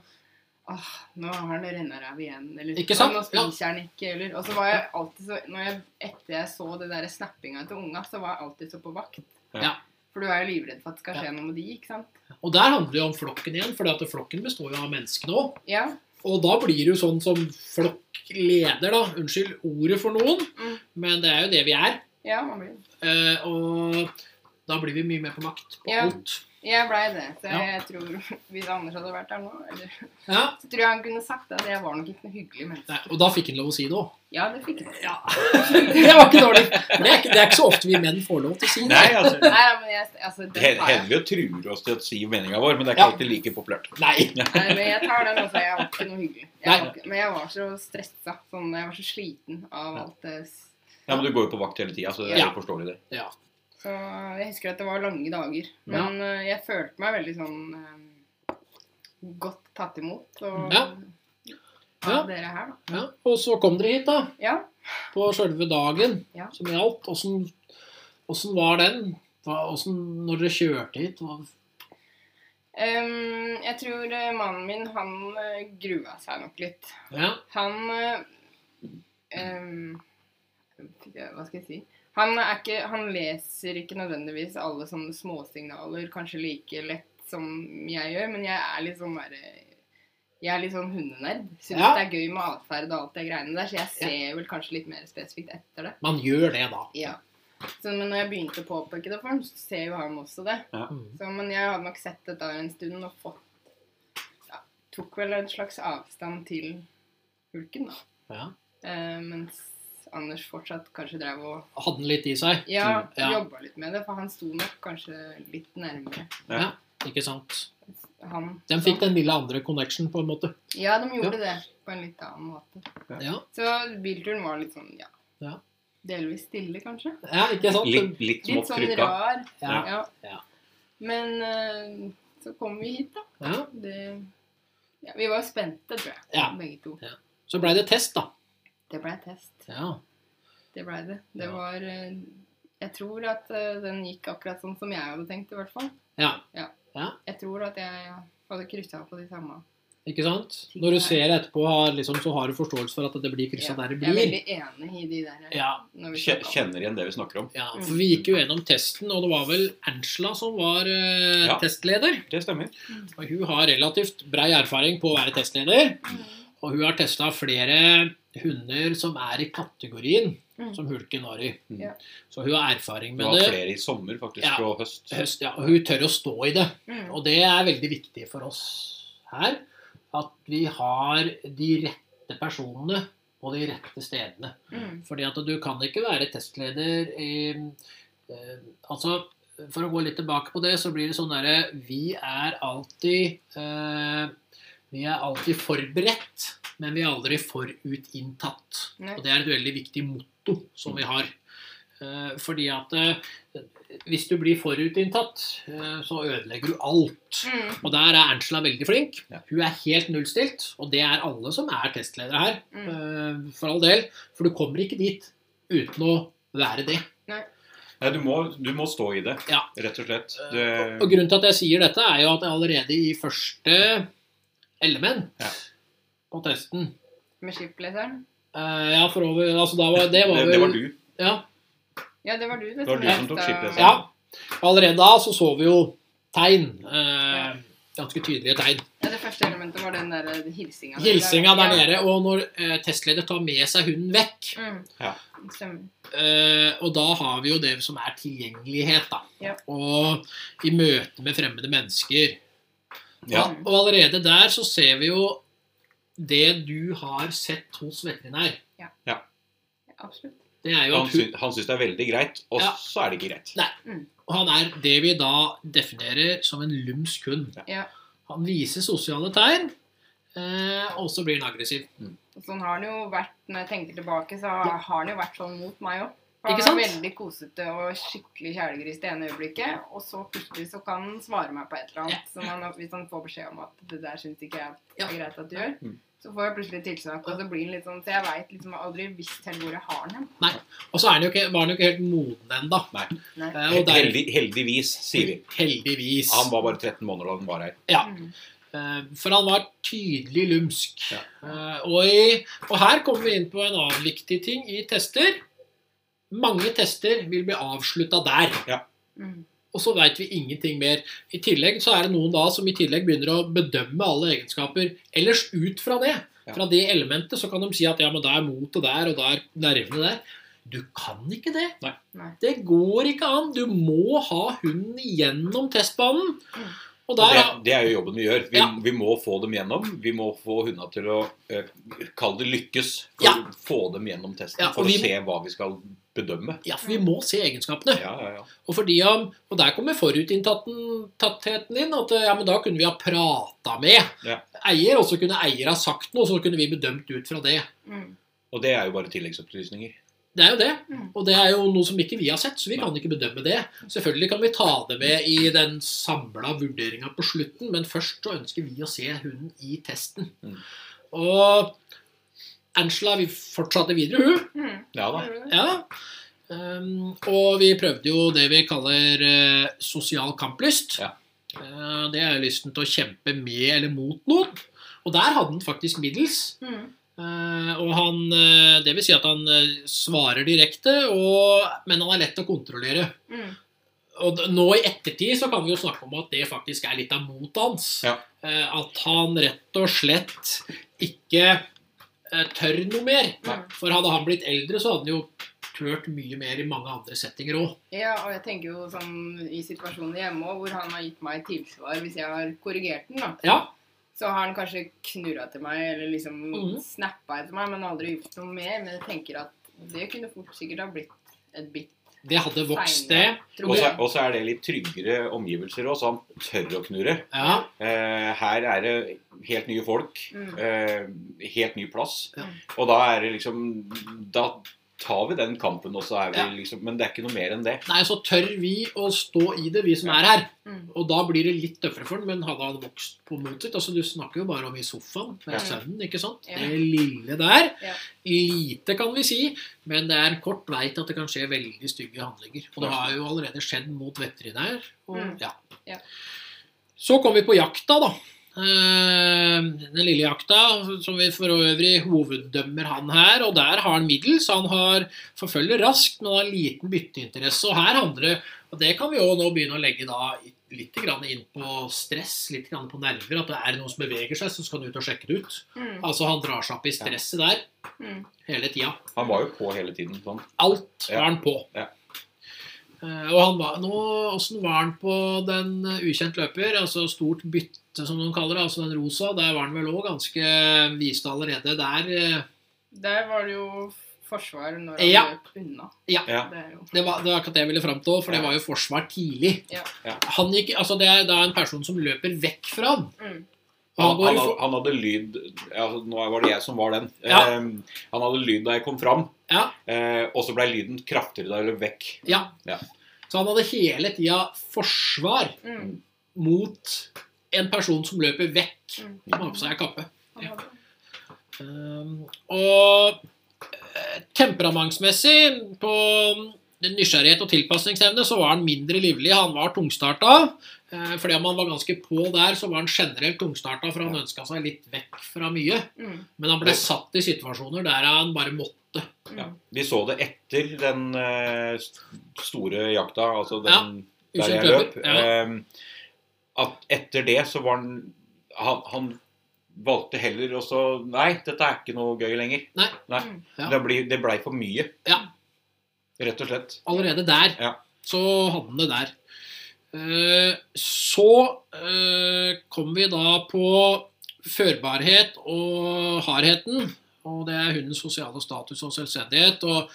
Åh, nå har han renna ræv igjen, eller
Ikke sant?
Nå spiser han ikke, eller Og så var jeg alltid så når jeg, Etter jeg så det derre snappinga til unga, så var jeg alltid så på vakt.
Ja.
For du er jo livredd for at det skal
Ja.
skje noe med de, ikke sant?
Og der handler det jo om flokken igjen, for flokken består jo av menneskene òg.
Ja.
Og da blir det jo sånn som flokkleder, da. Unnskyld ordet for noen,
Mm.
men det er jo det vi er.
Ja, man blir
Eh, og da blir vi mye mer på makt på
Ja.
alt.
Jeg blei det. Så
Ja.
jeg, tror Hvis Anders hadde vært der nå, eller,
Ja.
så tror jeg han kunne sagt at jeg var nok ikke noe hyggelig menneske.
Nei, og da fikk han lov å si det òg.
Ja, det fikk han.
Det var ikke dårlig. Men det er ikke, det er ikke så ofte vi menn får lov til å si det.
Nei, altså,
Nei, men jeg, altså,
det
den tar jeg.
hender jo truer oss til å si meninga vår, men det er
Ja.
ikke alltid like populært.
Nei.
Nei, men jeg tar den også. Jeg var ikke noe hyggelig.
Nei.
Jeg var, ikke- men jeg var så stressa. Sånn, jeg var så sliten av alt det s-
Ja, Men du går jo på vakt hele tida, så det er
Ja.
jo forståelig, det.
Ja.
Så jeg husker at det var lange dager. Men eh, jeg følte meg veldig sånn eh, godt tatt imot. Og,
Ja. Ja.
Av dere her, da.
Ja. Og så kom dere hit, da.
Ja.
På sjølve dagen
Ja.
som gjaldt. Åssen åssen var den? Hva- Åssen, når dere kjørte hit? hva-
Em, jeg tror eh, mannen min, han eh, grua seg nok litt.
Ja.
Han eh, em, Hva skal jeg si? Han, er ikke, han leser ikke nødvendigvis alle sånne småsignaler kanskje like lett som jeg gjør, men jeg er litt sånn derre jeg er litt sånn hundenerd. Syns
Ja.
det er gøy med atferd og alt det greiene der, så jeg ser vel kanskje litt mer spesifikt etter det.
Man gjør det da.
Ja. Så, men når jeg begynte å påpeke det for ham, så ser jo han også det.
Mm.
Så, men jeg hadde nok sett dette en stund og fått ja, Tok vel en slags avstand til hulken, da.
Ja.
Eh, mens Anders fortsatt kanskje drev og
Hadde den litt i seg.
ja,
Mm, ja.
jobba litt med det, for han sto nok kanskje litt nærmere
Ikke sant?
han.
Den fikk den lille andre connection, på en måte.
Ja, de gjorde det på en litt annen måte.
Ja,
Så bilturen var litt sånn, ja,
Ja.
Delvis stille, kanskje.
ja ikke sant?
Litt, litt
Litt
smått
sånn
trykka.
rar.
Ja.
Ja.
Ja.
Men eh, så kom vi hit, da.
Ja.
Det, ja, vi var spente, tror jeg,
Ja.
begge to.
Så blei det test, da.
Det blei test.
Ja.
Det blei det. Det
Ja.
var eh, Jeg tror at eh, den gikk akkurat sånn som jeg hadde tenkt, i hvert fall.
ja.
Jeg tror at jeg hadde kryssa på de samme.
Ikke sant? Når du ser etterpå, har, liksom, så har du forståelse for at det blir kryssa der det
Jeg er
blir.
veldig enig i de der.
Ja,
når vi
Kje-
snakker om-
Kjenner igjen det vi snakker om.
ja,
Mm.
for Vi gikk jo gjennom testen, og det var vel Angela som var eh,
Ja.
testleder.
Det stemmer.
Og Hun har relativt brei erfaring på å være testleder.
Mm.
Og hun har testa flere hunder som er i kategorien
Mm.
som hulken var i.
Mm.
Ja.
Så hun har erfaring
Du
med
har
det.
flere i sommer, faktisk,
Ja.
og høst.
Høst, ja, og hun tør å stå i det.
Mm.
Og det er veldig viktig for oss her. At vi har de rette personene på de rette stedene.
Mm.
Fordi at du kan ikke være testleder i eh, Altså, for å gå litt tilbake på det, så blir det sånn derre Vi er alltid eh, Vi er alltid forberedt, men vi er aldri forutinntatt.
Nei.
Og det er et veldig viktig motto som vi har. Eh, fordi at eh, hvis du blir forutinntatt, eh, så ødelegger du alt.
Mm.
Og der er Angela veldig flink.
Ja.
Hun er helt nullstilt, og det er alle som er testledere her.
Mm.
eh, For all del. For du kommer ikke dit uten å være det.
Nei, du må, du må stå i det,
Ja.
rett og slett.
Eh,
Det,
Og og grunnen til at jeg sier dette, er jo at jeg allerede i første element
Ja.
på testen
Med skipleseren?
eh, Ja, for over Altså, da var, det
det,
var vel
det var du.
Ja.
Ja, det var du.
Det var du som tok skipleseren.
ja. Allerede da så så vi jo tegn. eh, Ganske tydelige tegn.
Ja, det første elementet var den der eh, hilsinga.
Hilsinga der nede, og når eh, testleder tar med seg hunden vekk,
Ja. Mm.
Ja.
Stemmer.
Eh, og da har vi jo det som er tilgjengelighet, da.
Ja.
Og i møte med fremmede mennesker.
Ja.
Mm,
Og, og allerede der så ser vi jo det du har sett hos veterinær.
Absolutt.
Det er jo
Han,
at hun,
sy han syns det er veldig greit, og
Ja.
så er det ikke greit.
og han er det vi da definerer som en lumsk hund.
Ja.
Han viser sosiale tegn, eh, og så blir han aggressiv.
Og sånn har han jo vært, når jeg tenker tilbake, så har han jo vært sånn mot meg òg.
Ikke
Han
sant?
er veldig kosete og skikkelig kjælegris det ene øyeblikket, og så plutselig så kan han svare meg på et eller annet. Som han, hvis han får beskjed om at det der syns ikke jeg
Ja.
er greit at du gjør,
Mm.
så får jeg plutselig tilsnakk, og så blir han litt sånn Så jeg veit liksom jeg har aldri visst helt hvor jeg har den.
Og så er han jo ikke, var han jo ikke helt moden ennå.
Nei.
Nei.
Eh, og der,
Heldig, heldigvis, sier vi.
heldigvis.
Han var bare 13 måneder da han var her.
Ja.
Mm.
Eh, For han var tydelig lumsk.
Ja.
Eh, Og, i, og her kommer vi inn på en annen viktig ting i tester. Mange tester vil bli avslutta der.
Mm.
Og så veit vi ingenting mer. I tillegg så er det noen da som i tillegg begynner å bedømme alle egenskaper ellers ut fra det.
Ja.
Fra det elementet så kan de si at ja, men da er motet der, og da er nervene der. Du kan ikke det.
Nei.
Nei.
Det går ikke an. Du må ha hunden gjennom testbanen.
Mm.
Og
Det,
der,
det er jo jobben vi gjør. Vi,
Ja.
vi må få dem gjennom. Vi må få hundene til å eh, Kall det lykkes. For,
Ja.
Få dem gjennom testen
Ja, og
for
vi-
å se hva vi skal bedømme.
ja, for vi må se egenskapene.
Ja, ja, ja.
Og, fordi om, og der kommer forutinntattheten inn. At ja, men da kunne vi ha prata med
Ja.
eier, og så kunne eier ha sagt noe, og så kunne vi bedømt ut fra det.
Mm.
Og det er jo bare tilleggsopplysninger.
Det er jo det.
Mm.
Og det er jo noe som ikke vi har sett, så vi kan ikke bedømme det. Selvfølgelig kan vi ta det med i den samla vurderinga på slutten, men først så ønsker vi å se hunden i testen.
Mm.
Og Angela vi fortsatte videre, hun.
Mm.
Ja da.
Gjorde du det?
Ja. Um, og vi prøvde jo det vi kaller eh, sosial kamplyst.
Ja.
Eh, det er lysten til å kjempe med eller mot noen. Og der hadde han faktisk middels.
Mm.
Eh, og han eh, Det vil si at han eh, svarer direkte, og, men han er lett å kontrollere.
Mm.
Og d- nå i ettertid så kan vi jo snakke om at det faktisk er litt av motet hans.
Ja.
Eh, at han rett og slett ikke eh, tør noe mer.
Nei.
For hadde han blitt eldre, så hadde han jo tørt mye mer i mange andre settinger òg.
Ja, og jeg tenker jo sånn i situasjoner hjemme også, hvor han har gitt meg tilsvar hvis jeg har korrigert den, da.
Ja.
Så har han kanskje knurra til meg eller liksom
Mhm.
snappa etter meg, men aldri gjort noe mer. Men jeg tenker at det kunne fort sikkert ha blitt et bitt,
Det hadde vokst, det.
Seinere. tror
Og så
jeg.
og så er det litt tryggere omgivelser òg, så han tør å knurre.
Ja.
Eh, her er det helt nye folk,
Mm.
eh, helt ny plass.
Ja.
Og da er det liksom Da tar vi den kampen, og så er vi
Ja.
liksom Men det er ikke noe mer enn det.
Nei, så tør vi å stå i det, vi som er her.
Mm.
Og da blir det litt tøffere for den, men hadde han vokst på mot sitt altså Du snakker jo bare om i sofaen med
Ja.
sønnen, ikke sant?
Ja.
Det lille der.
Ja.
Lite, kan vi si, men det er en kort vei til at det kan skje veldig stygge handlinger. Og det har jo allerede skjedd mot veterinær. Og,
Mm.
ja.
Ja.
Så kom vi på jakta, da. Eh, Den lille jakta, som vi for øvrig hoveddømmer han her. Og der har han middels. Han har forfølger raskt, men har liten bytteinteresse. Og her handler det og det kan vi jo nå begynne å legge da litt grann inn på stress, litt grann på nerver. At det er noen som beveger seg, så skal han ut og sjekke det ut.
Mm.
Altså han drar seg opp i stresset der
Mm.
hele tida.
Han var jo på hele tiden sånn.
Alt
Ja.
var han på.
Ja.
Eh, Og han var, nå, hvordan var han på den eh, ukjent løper, altså stort bytte som de kaller det, altså den rosa, der var han vel òg ganske viste allerede der eh,
Der var det jo forsvar når han
Ja.
løp unna.
Ja.
Ja.
Det er jo
Det var, det var akkurat det jeg ville fram til, for det var jo forsvar tidlig.
Ja.
Ja.
Han gikk, altså det er da en person som løper vekk fra han.
mm.
Og han
Han,
går i
han,
for,
han hadde lyd ja, altså, Nå var det jeg som var den.
Ja.
Eh, han hadde lyd da jeg kom fram,
ja,
eh, og så ble lyden kraftigere da jeg løp vekk.
ja.
Ja.
Så han hadde hele tida forsvar
Mm.
mot en person som løper vekk,
Mm.
som har på seg kappe.
Han hadde-
Um, og eh, temperamentsmessig, på mm, nysgjerrighet og tilpasningsevne, så var han mindre livlig. Han var tungstarta. Eh, fordi om han var ganske på der, så var han generelt tungstarta, for han ønska seg litt vekk fra mye.
Mm.
Men han ble satt i situasjoner der han bare måtte.
Mm.
Ja. Vi så det etter den eh, st- store jakta, altså den der
Ukjent
jeg løp.
løper. Ja.
eh, at etter det så var han Han, han valgte heller også Nei, dette er ikke noe gøy lenger.
Nei.
Mm.
Ja.
Det, blir- det blei for mye.
Ja.
Rett og slett.
Allerede der
Ja.
så hadde han det der. Eh, Så eh, kom vi da på førbarhet og hardheten. Og det er hundens sosiale status og selvstendighet. Og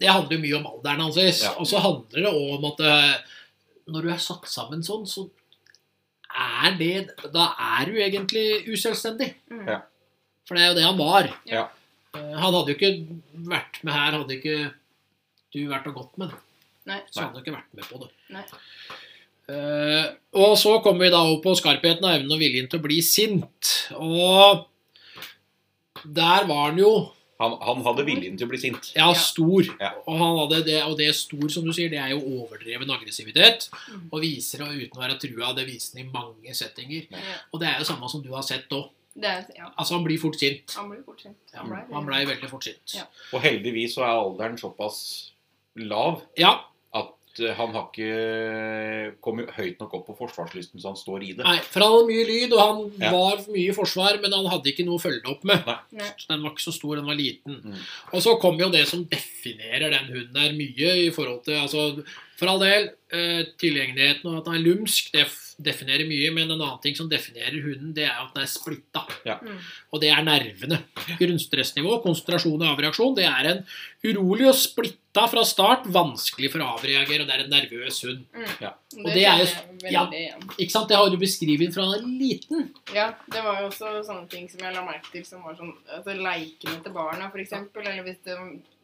det handler jo mye om alderen hans.
Ja.
Og så handler det også om at eh, når du er satt sammen sånn, så er det Da er du egentlig uselvstendig.
Mm.
Ja.
For det er jo det han var.
Ja.
Eh, Han hadde jo ikke vært med her, hadde ikke du vært og gått med det.
Nei.
Så hadde han ikke vært med på det.
Nei.
Eh, og så kommer vi da opp på skarpheten av evnen og viljen til å bli sint. Og der var han jo
Han, han hadde viljen til å bli sint.
ja,
Ja.
stor.
Ja.
Og, han hadde det, og det stor, som du sier, det er jo overdreven aggressivitet.
Mm.
Og viser det uten å være trua. Det viser han i mange settinger.
Ja.
Og det er jo samme som du har sett òg.
Det er, ja.
Altså, han blir fort sint.
Han ble jo fort sint.
Han
ble det.
blei veldig fort sint.
Ja.
Og heldigvis så er alderen såpass lav
ja.
at eh, han har ikke kommet høyt nok opp på forsvarslysten, så han står i det.
Nei, for han hadde mye lyd, og han
Ja.
var mye i forsvar, men han hadde ikke noe å følge det opp med.
Nei.
Så den var ikke så stor, den var liten.
Mm.
Og så kommer jo det som definerer den hunden her mye i forhold til altså, For all del, eh, tilgjengeligheten og at den er lumsk, det f- definerer mye, men en annen ting som definerer hunden, det er at den er splitta.
Mm.
Og det er nervene. Grunnstressnivå, konsentrasjon og avreaksjon. Det er en urolig og splitta fra start, vanskelig for å avreagere, og det er en nervøs hund. Og det er jo-
mm. kjenner jeg
ja.
veldig igjen.
Ikke sant? Det har du beskrevet fra han er liten.
Ja, det var jo også sånne ting som jeg la merke til, som var sånn altså, Leikene til barna, for eksempel. Eller hvis det,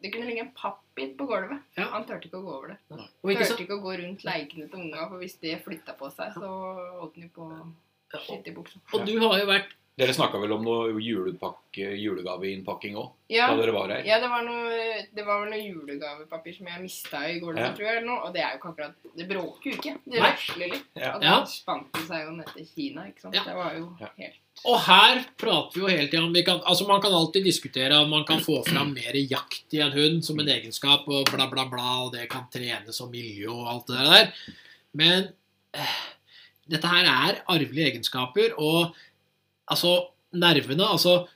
det kunne ligge en pappbit på gulvet.
Ja.
Han turte ikke å gå over det.
Og ikke sant?
Turte ikke å gå rundt leikene til unga, for hvis det flytta på seg, så holdt den jo på å skite i buksa.
Og du har jo vært
Dere snakka vel om noe julepakke, julegaveinnpakking òg,
Ja,
da dere var her?
ja det, var noe, det var vel noe julegavepapir som jeg mista i gulvet,
Ja.
tror jeg. eller noe, Og det er jo ikke akkurat Det bråker jo ikke. Det
Nei.
rasler litt.
Ja.
Og da
Ja.
spant det seg jo ned til Kina, ikke sant.
Ja.
Det var jo
Ja.
helt
Og her prater vi jo hele tida om vi kan, altså Man kan alltid diskutere om man kan få fram mer jakt i en hund som en egenskap, og bla, bla, bla, og det kan trenes og miljø og alt det der. Men eh, dette her er arvelige egenskaper, og altså Nervene, altså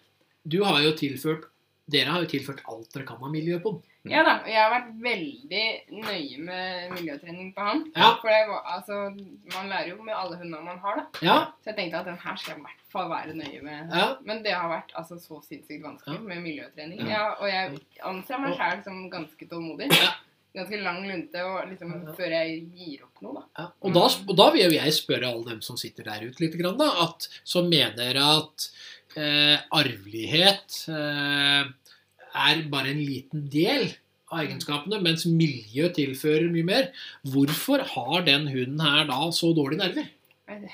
Du har jo tilført Dere har jo tilført alt dere kan av miljø på den.
Ja da, og jeg har vært veldig nøye med miljøtrening på han.
Ja.
For det var, altså, man lærer jo med alle hundene man har, da.
Ja,
Så jeg tenkte at den her skal jeg i hvert fall være nøye med.
ja.
Men det har vært altså, så sinnssykt vanskelig
Ja.
med miljøtrening.
Ja.
Ja. og jeg anser meg sjæl som ganske tålmodig.
Ja.
Ganske lang lunte og liksom
Ja.
før jeg gir opp noe, da.
Ja, og, da, og da vil jo jeg spørre alle dem som sitter der ute litt, grann, da, at, som mener at eh, arvelighet eh, er bare en liten del av egenskapene, mens miljø tilfører mye mer. Hvorfor har den hunden her da så dårlige nerver?
Jeg vet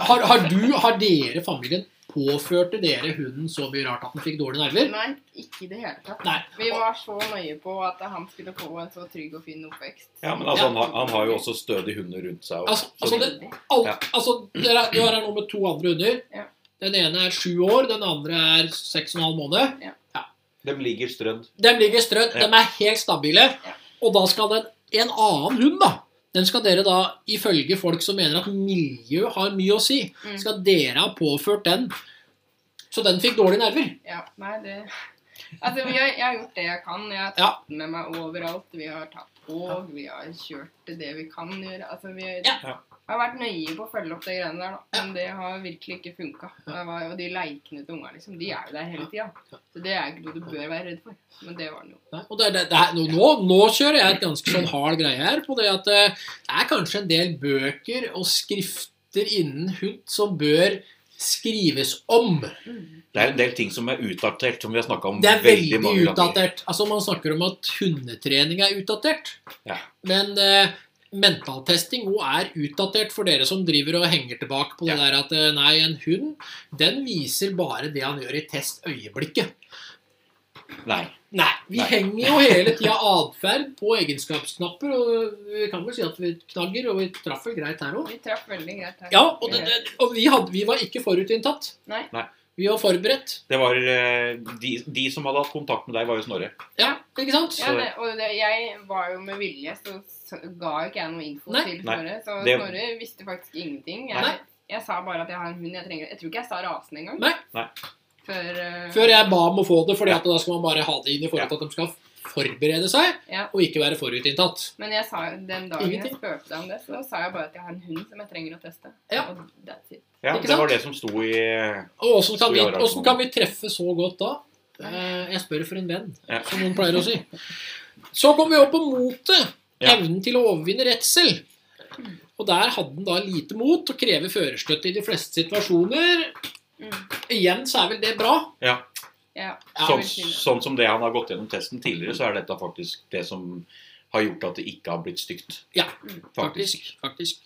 Har, har du, har dere, familien, påførte dere hunden så mye rart at den fikk dårlige nerver?
Nei, ikke i det hele tatt.
Nei.
Vi var så nøye på at han skulle få en så trygg og fin oppvekst.
Ja, men altså, han, har- han har jo også stødige hunder rundt seg. Og,
Altså, altså det,
Veldig.
alt,
Ja.
altså, dere, du er her nå med to andre hunder.
Ja.
Den ene er sju år, den andre er seks og en halv måned.
De ligger strødd.
De ligger strødd,
Ja.
de er helt stabile.
Ja.
Og da skal den, en annen hund, da Den skal dere da, ifølge folk som mener at miljø har mye å si,
Mm.
skal dere ha påført den. Så den fikk dårlige nerver.
Ja, nei, det Altså, vi har, jeg har gjort det jeg kan. Jeg har
Ja.
tatt den med meg overalt. Vi har tatt tog, vi har kjørt det vi kan gjøre. Altså, vi
Ja.
Ja.
har Jeg har vært nøye på å følge opp det greiene der, da. Men det har virkelig ikke funka. Det var- Og de leikene til ungene, liksom, de er jo der hele tida. Så det er ikke noe du bør være redd for. Men det var den jo.
Nei, og det, det, det er, nå, nå- nå kjører jeg et ganske sånn hard greie her på det at eh, det er kanskje en del bøker og skrifter innen hund som bør skrives om.
Det er en del ting som er utdatert, som vi har snakka om
Det er veldig,
mange ganger.
utdatert. Altså Man snakker om at hundetrening er utdatert.
Ja.
Men eh, mentaltesting òg er utdatert for dere som driver og henger tilbake på det der at eh, nei, en hund den viser bare det han gjør i testøyeblikket.
Nei.
Nei, vi
Nei.
henger jo hele tida atferd på egenskapsknapper, og vi kan vel si at vi knagger, og vi traff vel greit her òg.
Vi traff veldig greit her.
Ja, og, det, det, og vi, hadde, vi var ikke forutinntatt.
Nei.
Nei.
Vi var forberedt.
Det var eh, de, de som hadde hatt kontakt med deg, var jo Snorre.
Ja, ikke sant?
Ja, det, og det, jeg var jo med vilje, så s- ga ikke jeg noe info
Nei.
til
Nei.
Snorre. Så
Det-
Snorre visste faktisk ingenting.
Nei.
Jeg, jeg sa bare at jeg har en hund jeg trenger Jeg tror ikke jeg sa rasen engang.
Nei.
Nei.
Før, eh,
Før jeg ba om å få det, fordi at da skal man bare ha det inn i forhold til at de skal forberede seg,
Ja.
og ikke være forutinntatt.
Men jeg sa, jo- den dagen
Ingenting.
jeg spurte deg om det, så sa jeg bare at jeg har en hund som jeg trenger å teste.
Ja.
Og that's it.
Ja,
Ikke
det var
sant?
det som sto i eh,
Og åssen kan,
Så vi
vi-
har altså-
åssen kan vi treffe så godt da? Eh, Jeg spør for en venn,
Ja.
som noen pleier å si. Så kom vi opp på motet.
Ja.
Evnen til å overvinne redsel. Og der hadde den da lite mot og krever førerstøtte i de fleste situasjoner.
Mm.
Igjen så er vel det bra.
Ja.
Ja.
Ja,
sånn,
vil si det.
sånn som det han har gått gjennom testen tidligere, så er dette faktisk det som har gjort at det ikke har blitt stygt.
Ja,
faktisk.
faktisk. faktisk.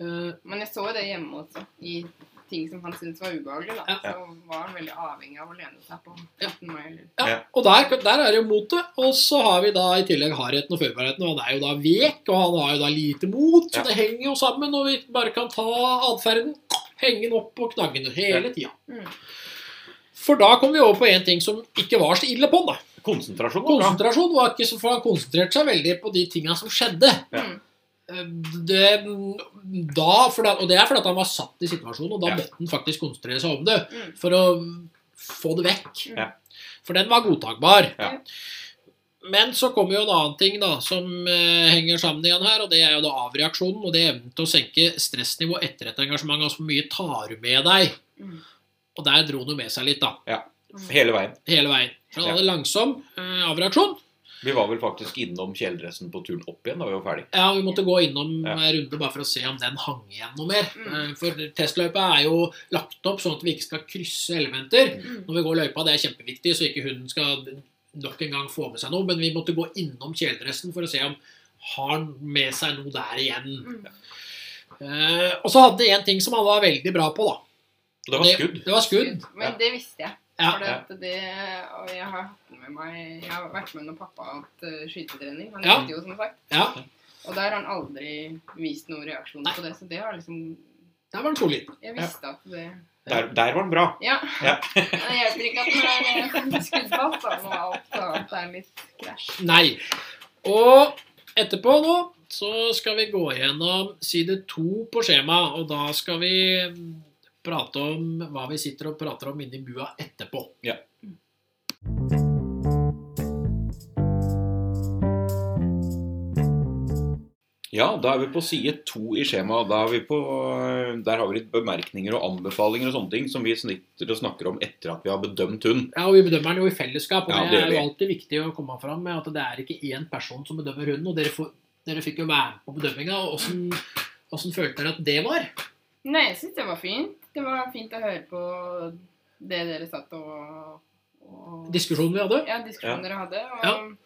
Eh,
Men jeg så jo det hjemme også, i ting som han syntes var ubehagelig. da.
Ja.
Så var han veldig avhengig av å lene seg på
Ja.
18 meg. Eller.
Ja,
Ja.
og der, der er det jo motet. Og så har vi da i tillegg hardheten og førbarheten. Og han er jo da vek, og han har jo da lite mot, så
Ja.
det henger jo sammen. Og vi bare kan ta atferden, henge den opp og knagge den hele tida.
Mm.
For da kom vi over på en ting som ikke var så ille på den. da.
Konsentrasjon var bra.
Konsentrasjon var ikke så For han konsentrerte seg veldig på de tinga som skjedde.
Ja.
Mm.
Eh, Det, da, for da, og det er fordi at han var satt i situasjonen, og da
Ja.
måtte han faktisk konsentrere seg om det
Mm.
for å få det vekk.
Ja.
For den var godtakbar.
Ja.
Men så kommer jo en annen ting da, som eh, henger sammen igjen her, og det er jo da avreaksjonen og det er evnen til å senke stressnivå etter et engasjement. Altså hvor mye tar du med deg?
Mm.
Og der dro han jo med seg litt, da.
Mm.
Hele veien.
Hele veien. Så han hadde langsom eh, avreaksjon.
Vi var vel faktisk innom kjeledressen på turen opp igjen da vi var ferdig.
Ja, vi måtte gå innom
Ja.
en runde bare for å se om den hang igjen noe mer.
Mm.
Eh, For testløypa er jo lagt opp sånn at vi ikke skal krysse elementer.
Mm.
Når vi går løypa, det er kjempeviktig, så ikke hunden skal nok en gang få med seg noe. Men vi måtte gå innom kjeledressen for å se om har han med seg noe der igjen.
Mm.
Eh, og så hadde en ting som han var veldig bra på, da.
Og det var skudd.
Det var skudd.
Men
Ja.
det visste jeg.
Ja.
For at det, og jeg har hatt med meg Jeg har vært med når pappa har hatt eh, skytetrening. Han
Ja.
visste jo, som sagt.
Ja,
Og der har han aldri vist noen reaksjon
Nei.
på det. Så det har liksom
der var han solid.
Jeg visste at det
Der, der var den bra.
Ja.
Ja.
Det hjelper ikke at man er eh, skuddfast da, når alt annet er litt krasj.
Nei. Og etterpå nå så skal vi gå gjennom side to på skjemaet, og da skal vi mm, prate om hva vi sitter og prater om inni bua etterpå.
Ja. Ja, da er vi på side to i skjemaet. Da er vi på, eh, Der har vi litt bemerkninger og anbefalinger og sånne ting som vi snitter og snakker om etter at vi har bedømt hund.
Ja, og Vi bedømmer den jo i fellesskap, og
Ja,
det
det gjør
er jo
vi.
alltid viktig å komme fram med at det er ikke én person som bedømmer hunden. og Dere, får, dere fikk jo være med på bedømminga. og hvordan- Hvordan følte dere at det var?
Nei, jeg syns det var fint. Det var fint å høre på det dere satt og, og
Diskusjonen vi hadde?
Ja, diskusjonen dere hadde. Og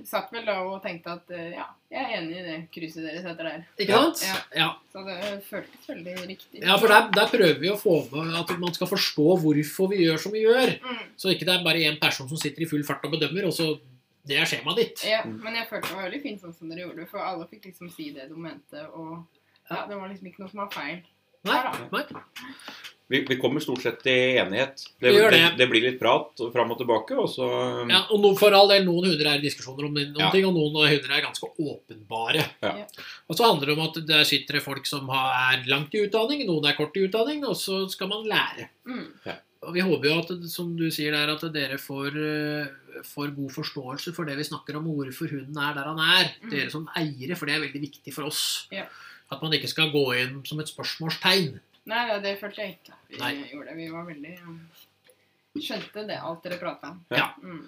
vi satt vel da og tenkte at eh, ja, jeg er enig i det krysset dere setter der.
Ikke sant?
Ja.
Ja,
Så det føltes veldig riktig.
ja for der, der prøver vi å få med at man skal forstå hvorfor vi gjør som vi gjør.
Mm,
Så ikke det er bare én person som sitter i full fart og bedømmer, og så det er skjemaet ditt.
ja, men jeg følte det var veldig fint sånn som dere gjorde det, for alle fikk liksom si det de mente, og ja, det var liksom ikke noe som var feil.
Nei, nei.
Vi, vi kommer stort sett til enighet.
Vi gjør det.
det. blir litt prat og fram og tilbake, og så
Ja, og no, for all del, noen hunder er i diskusjoner om noen
Ja.
ting, og noen hunder er ganske åpenbare.
Ja.
Ja.
Og så handler det om at der sitter det folk som har, er langt i utdanning, noen er kort i utdanning, og så skal man lære.
Mm.
Og vi håper jo at, som du sier der, at dere får, eh, får god forståelse for det vi snakker om, og hvorfor hunden er der han er.
Mm.
Dere som eiere, for det er veldig viktig for oss.
Ja.
At man ikke skal gå inn som et spørsmålstegn.
Nei, ja, det følte jeg ikke. Vi
Nei.
gjorde det. Vi var veldig um, Skjønte det, alt dere prata om.
Ja.
Mm.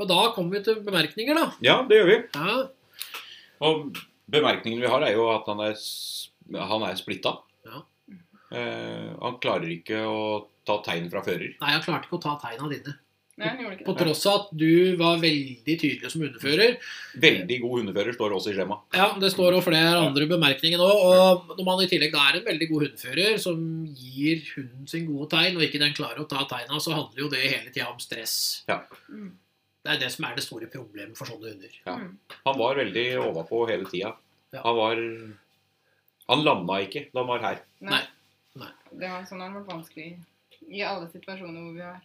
Og da kommer vi til bemerkninger, da.
Ja, det gjør vi.
Ja,
Og bemerkningen vi har, er jo at han er, s- han er splitta.
Ja.
Eh, han klarer ikke å ta tegn fra fører.
Nei, jeg klarte ikke å ta tegna dine.
Nei, han gjorde
På
ikke det.
tross av at du var veldig tydelig som hundefører.
Veldig god hundefører står også i skjemaet.
Ja, Det står også flere andre bemerkninger nå. Og når man i tillegg da er en veldig god hundefører som gir hunden sin gode tegn, og ikke den klarer å ta tegna, så handler jo det hele tida om stress.
Mm.
Det er det som er det store problemet for sånne hunder.
Han var veldig overpå hele tida.
Ja.
Han var Han landa ikke da han var her.
Nei.
Nei.
Det var sånn det har vært vanskelig i- i alle situasjoner hvor vi har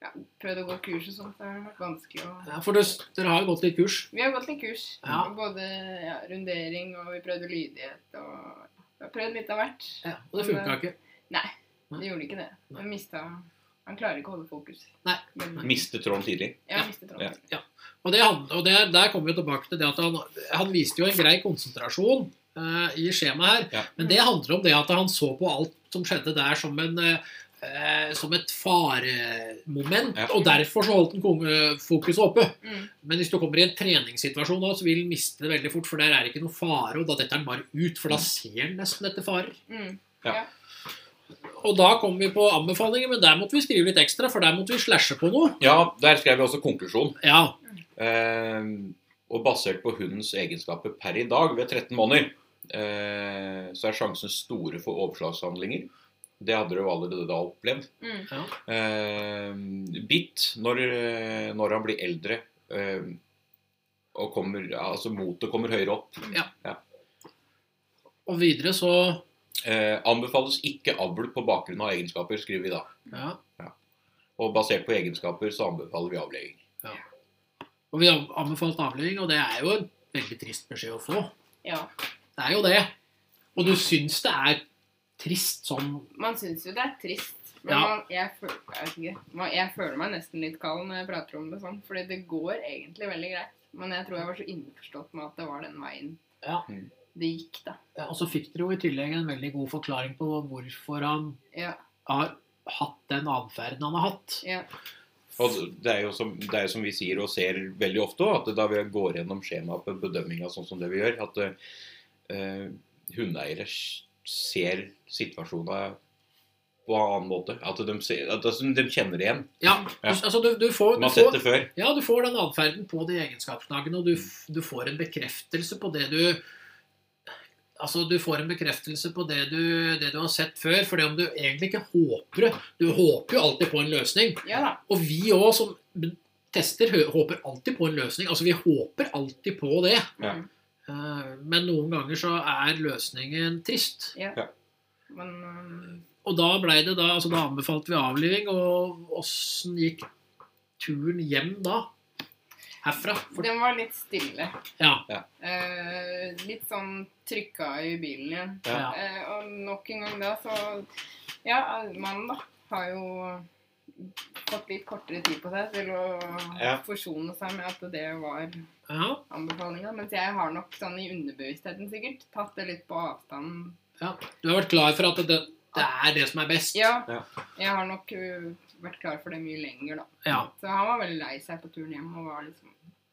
ja, prøvd å gå kurs og sånt. Det har vært vanskelig å
Ja, for det- dere har jo gått litt kurs.
Vi har gått litt kurs.
Ja.
Både ja, rundering og vi prøvde lydighet og Vi har prøvd litt av hvert.
og det funka ikke. Nei.
Det gjorde ikke det.
Nei.
Han mista Han klarer ikke å holde fokus.
Nei.
Men,
Mistet tråden tidlig.
Ja, han mistet tråden.
Og, det, han- og det, der kommer vi tilbake til det at han, han viste jo en grei konsentrasjon eh, i skjemaet her.
Ja.
Men det handler om det at han så på alt som skjedde der som en eh, eh, som et faremoment.
Ja.
Og derfor så holdt han konge- eh, fokuset oppe.
Mm.
Men hvis du kommer i en treningssituasjon nå, så vil han miste det veldig fort. For der er det ikke noe fare, og da detter han bare ut.
Mm.
For da ser han nesten etter farer.
Mm.
Og da kommer vi på anbefalinger, men der måtte vi skrive litt ekstra, for der måtte vi slashe på noe.
Ja, der skrev vi også konklusjon.
Ja,
Eh, og basert på hundens egenskaper per i dag ved 13 måneder, eh, så er sjansen store for overslagshandlinger. Det hadde du jo allerede da opplevd.
Mm.
eh, bitt når, eh, når han blir eldre eh, og kommer, altså motet kommer høyere opp.
Og videre så
Eh, anbefales ikke avl på bakgrunn av egenskaper, skriver vi da.
ja.
Og basert på egenskaper så anbefaler vi avleving.
Og vi har anbefalt avliving, og det er jo en veldig trist beskjed å få.
Ja.
Det er jo det. Og du syns det er trist sånn
Man syns jo det er trist. Men
Ja.
man, jeg, føl- jeg, vet ikke, man, jeg føler meg nesten litt kald når jeg prater om det sånn. Fordi det går egentlig veldig greit. Men jeg tror jeg var så innforstått med at det var den veien
Ja.
det gikk, da.
Ja, Og så fikk dere jo Altså, i tillegg en veldig god forklaring på hvorfor han
Ja.
har hatt den atferden han har hatt.
ja.
Og det er jo som, det er jo som vi sier og ser veldig ofte også, at da vi går gjennom skjemaet på bedømminga sånn som det vi gjør, at eh, hundeeiere s- ser situasjonen på en annen måte. At de, ser, at altså, de de kjenner det igjen.
Ja,
Ja.
altså du, du får,
De
du
har sett
får
det før.
Ja, du får den atferden på de egenskapsdagene, og du, f- du får en bekreftelse på det du Altså, du får en bekreftelse på det du, det du har sett før. For det om du egentlig ikke håper det Du håper jo alltid på en løsning.
ja da.
Og vi òg som b- tester, hø- håper alltid på en løsning. Altså, vi håper alltid på det.
Ja.
Mm.
Eh, Men noen ganger så er løsningen trist.
Men um,
Og da blei det da altså Da anbefalte vi avliving, og åssen gikk turen hjem da? Herfra? For,
um, den var litt stille.
ja.
Eh, litt sånn trykka i bilen igjen.
Ja.
Eh, og nok en gang da, så Ja, mannen, da, har jo fått litt kortere tid på seg til å
Ja.
forsone seg med at det var
ja.
anbefalinga. Mens jeg har nok sånn i underbevisstheten sikkert tatt det litt på avstand.
Ja, Du har vært klar for at det, det er det som er best?
Ja,
Ja.
jeg har nok uh, vært klar for det mye lenger, da.
Ja,
Så han var veldig lei seg på turen hjem og var liksom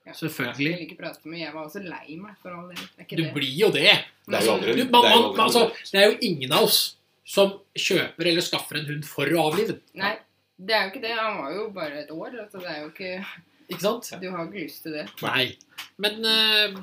ja,
Selvfølgelig.
Ville ikke prate med Jeg var også lei meg, for all del. Det er ikke
Du
det.
blir jo det.
Det er jo aldri,
Du,
det
man,
er jo
man,
aldri
altså, det er jo ingen av oss som kjøper eller skaffer en hund for å avlive den.
Nei, det er jo ikke det. Han var jo bare et år, altså det er jo ikke
Ikke sant?
Du har ikke lyst til det.
Nei. Men eh,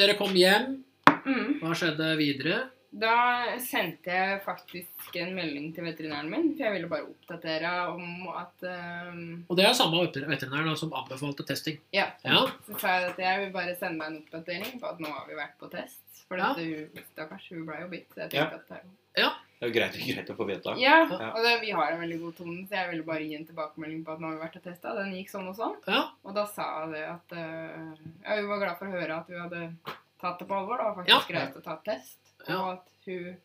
dere kom hjem.
Mm.
Hva skjedde videre?
Da sendte jeg faktisk en melding til veterinæren min, for jeg ville bare oppdatere om at ehm,
Og det er samme veter- veterinær da, som anbefalte testing.
Ja.
ja.
Så sa jeg at jeg vil bare sende deg en oppdatering på at nå har vi vært på test. For
Ja.
dette, hun, stakkars, hun ble jo bitt. Så jeg tenkte at det er jo
Det er jo greit, greit å få vite.
Ja,
Ja.
og det, vi har en veldig god tone, så jeg ville bare gi en tilbakemelding på at nå har vi vært og testa. Den gikk sånn og sånn.
ja.
Og da sa jeg det at eh, Ja, hun var glad for å høre at hun hadde tatt det på alvor. Det var
Ja.
faktisk greit å ta test. Og
Ja.
at hun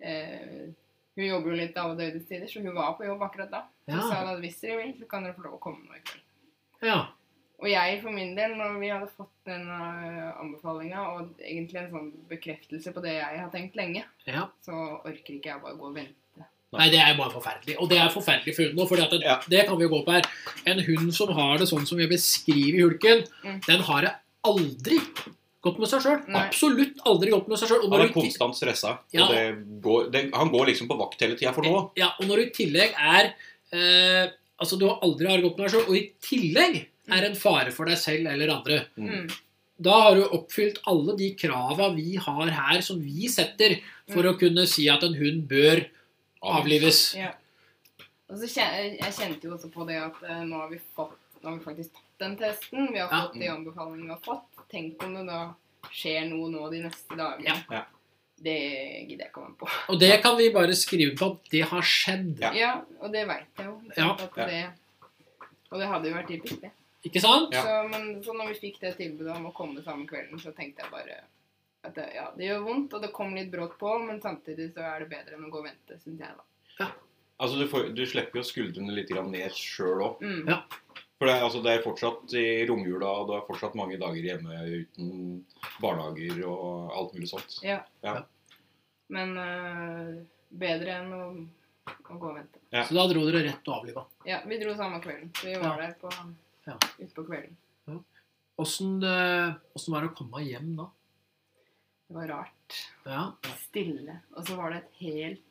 eh, Hun jobber jo litt av og døgnstider, så hun var på jobb akkurat da. Så
Ja.
sa hun at hvis dere vil, så kan dere få lov å komme nå i kveld.
Ja.
Og jeg for min del, når vi hadde fått den eh, anbefalinga, og egentlig en sånn bekreftelse på det jeg har tenkt lenge,
ja.
så orker ikke jeg bare gå og vente.
Nei, det er bare forferdelig. Og det er forferdelig for hunden òg, for det,
Ja.
det kan vi jo gå på her. En hund som har det sånn som vi beskriver i hulken,
Mm.
den har det aldri godt med seg sjøl.
Nei.
Absolutt aldri godt med seg sjøl.
Han
Og, når
er
du i til-
konstant stressa.
Ja.
Og det går, det, han går liksom på vakt hele tida for noe.
ja, og når du i tillegg er eh, Altså, du har aldri har godt med deg sjøl, og i tillegg er en fare for deg selv eller andre.
Mm.
Mm.
Da har du oppfylt alle de krava vi har her, som vi setter for å kunne si at en hund bør avlives.
Ja. Og så kjen- jeg kjente jo også på det at eh, nå har vi fått Nå har vi faktisk tatt den testen. Vi har
Ja. Mm.
fått de anbefalingene vi har fått. Tenk om det da skjer noe nå de neste dagene.
Ja.
Ja.
Det gidder jeg ikke å være med på.
Og det kan vi bare skrive på at det har skjedd.
Ja.
Ja, og det veit jeg jo. ikke
Ja.
sant, At det, og det hadde jo vært typisk, det.
Ikke sant?
Ja.
Så, men så når vi fikk det tilbudet om å komme samme kvelden, så tenkte jeg bare at det, ja, det gjør vondt, og det kom litt brått på, men samtidig så er det bedre enn å gå og vente, syns jeg, da.
Altså, du, får, du slipper jo skuldrene litt grann ned sjøl òg.
Mm.
Ja.
For det er, altså, det er fortsatt i romjula, og det er fortsatt mange dager hjemme uten barnehager og alt mulig sånt.
Ja.
Ja.
Men eh, bedre enn å, å gå og vente.
Ja.
Så da dro dere rett og avliva.
Ja, vi dro samme kvelden. Så vi var der på,
Ja.
ut på kvelden.
Åssen eh, åssen var det å komme hjem da?
Det var rart.
Ja.
Stille. Og så var det et helt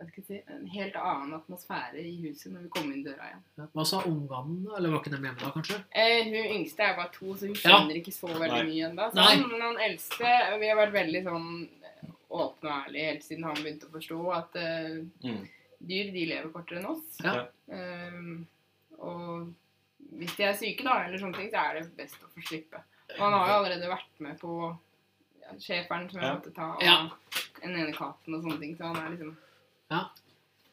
hva skal jeg si, en helt annen atmosfære i huset når vi kom inn døra igjen.
Hva sa ungene? Eller var ikke dem hjemme da, kanskje?
Eh, hun yngste er bare to, så hun
Ja.
skjønner ikke så veldig
Nei.
mye ennå.
Nei.
Men han eldste Vi har vært veldig sånn åpne og ærlige helt siden han begynte å forstå at eh,
Mm.
dyr de lever kortere enn oss.
Ja.
Ehm, og hvis de er syke, da, eller sånne ting, så er det best å få slippe. Og han har jo allerede vært med på ja, schæferen som jeg
Ja.
måtte ta, og
Ja.
den ene katten og sånne ting. Så han er liksom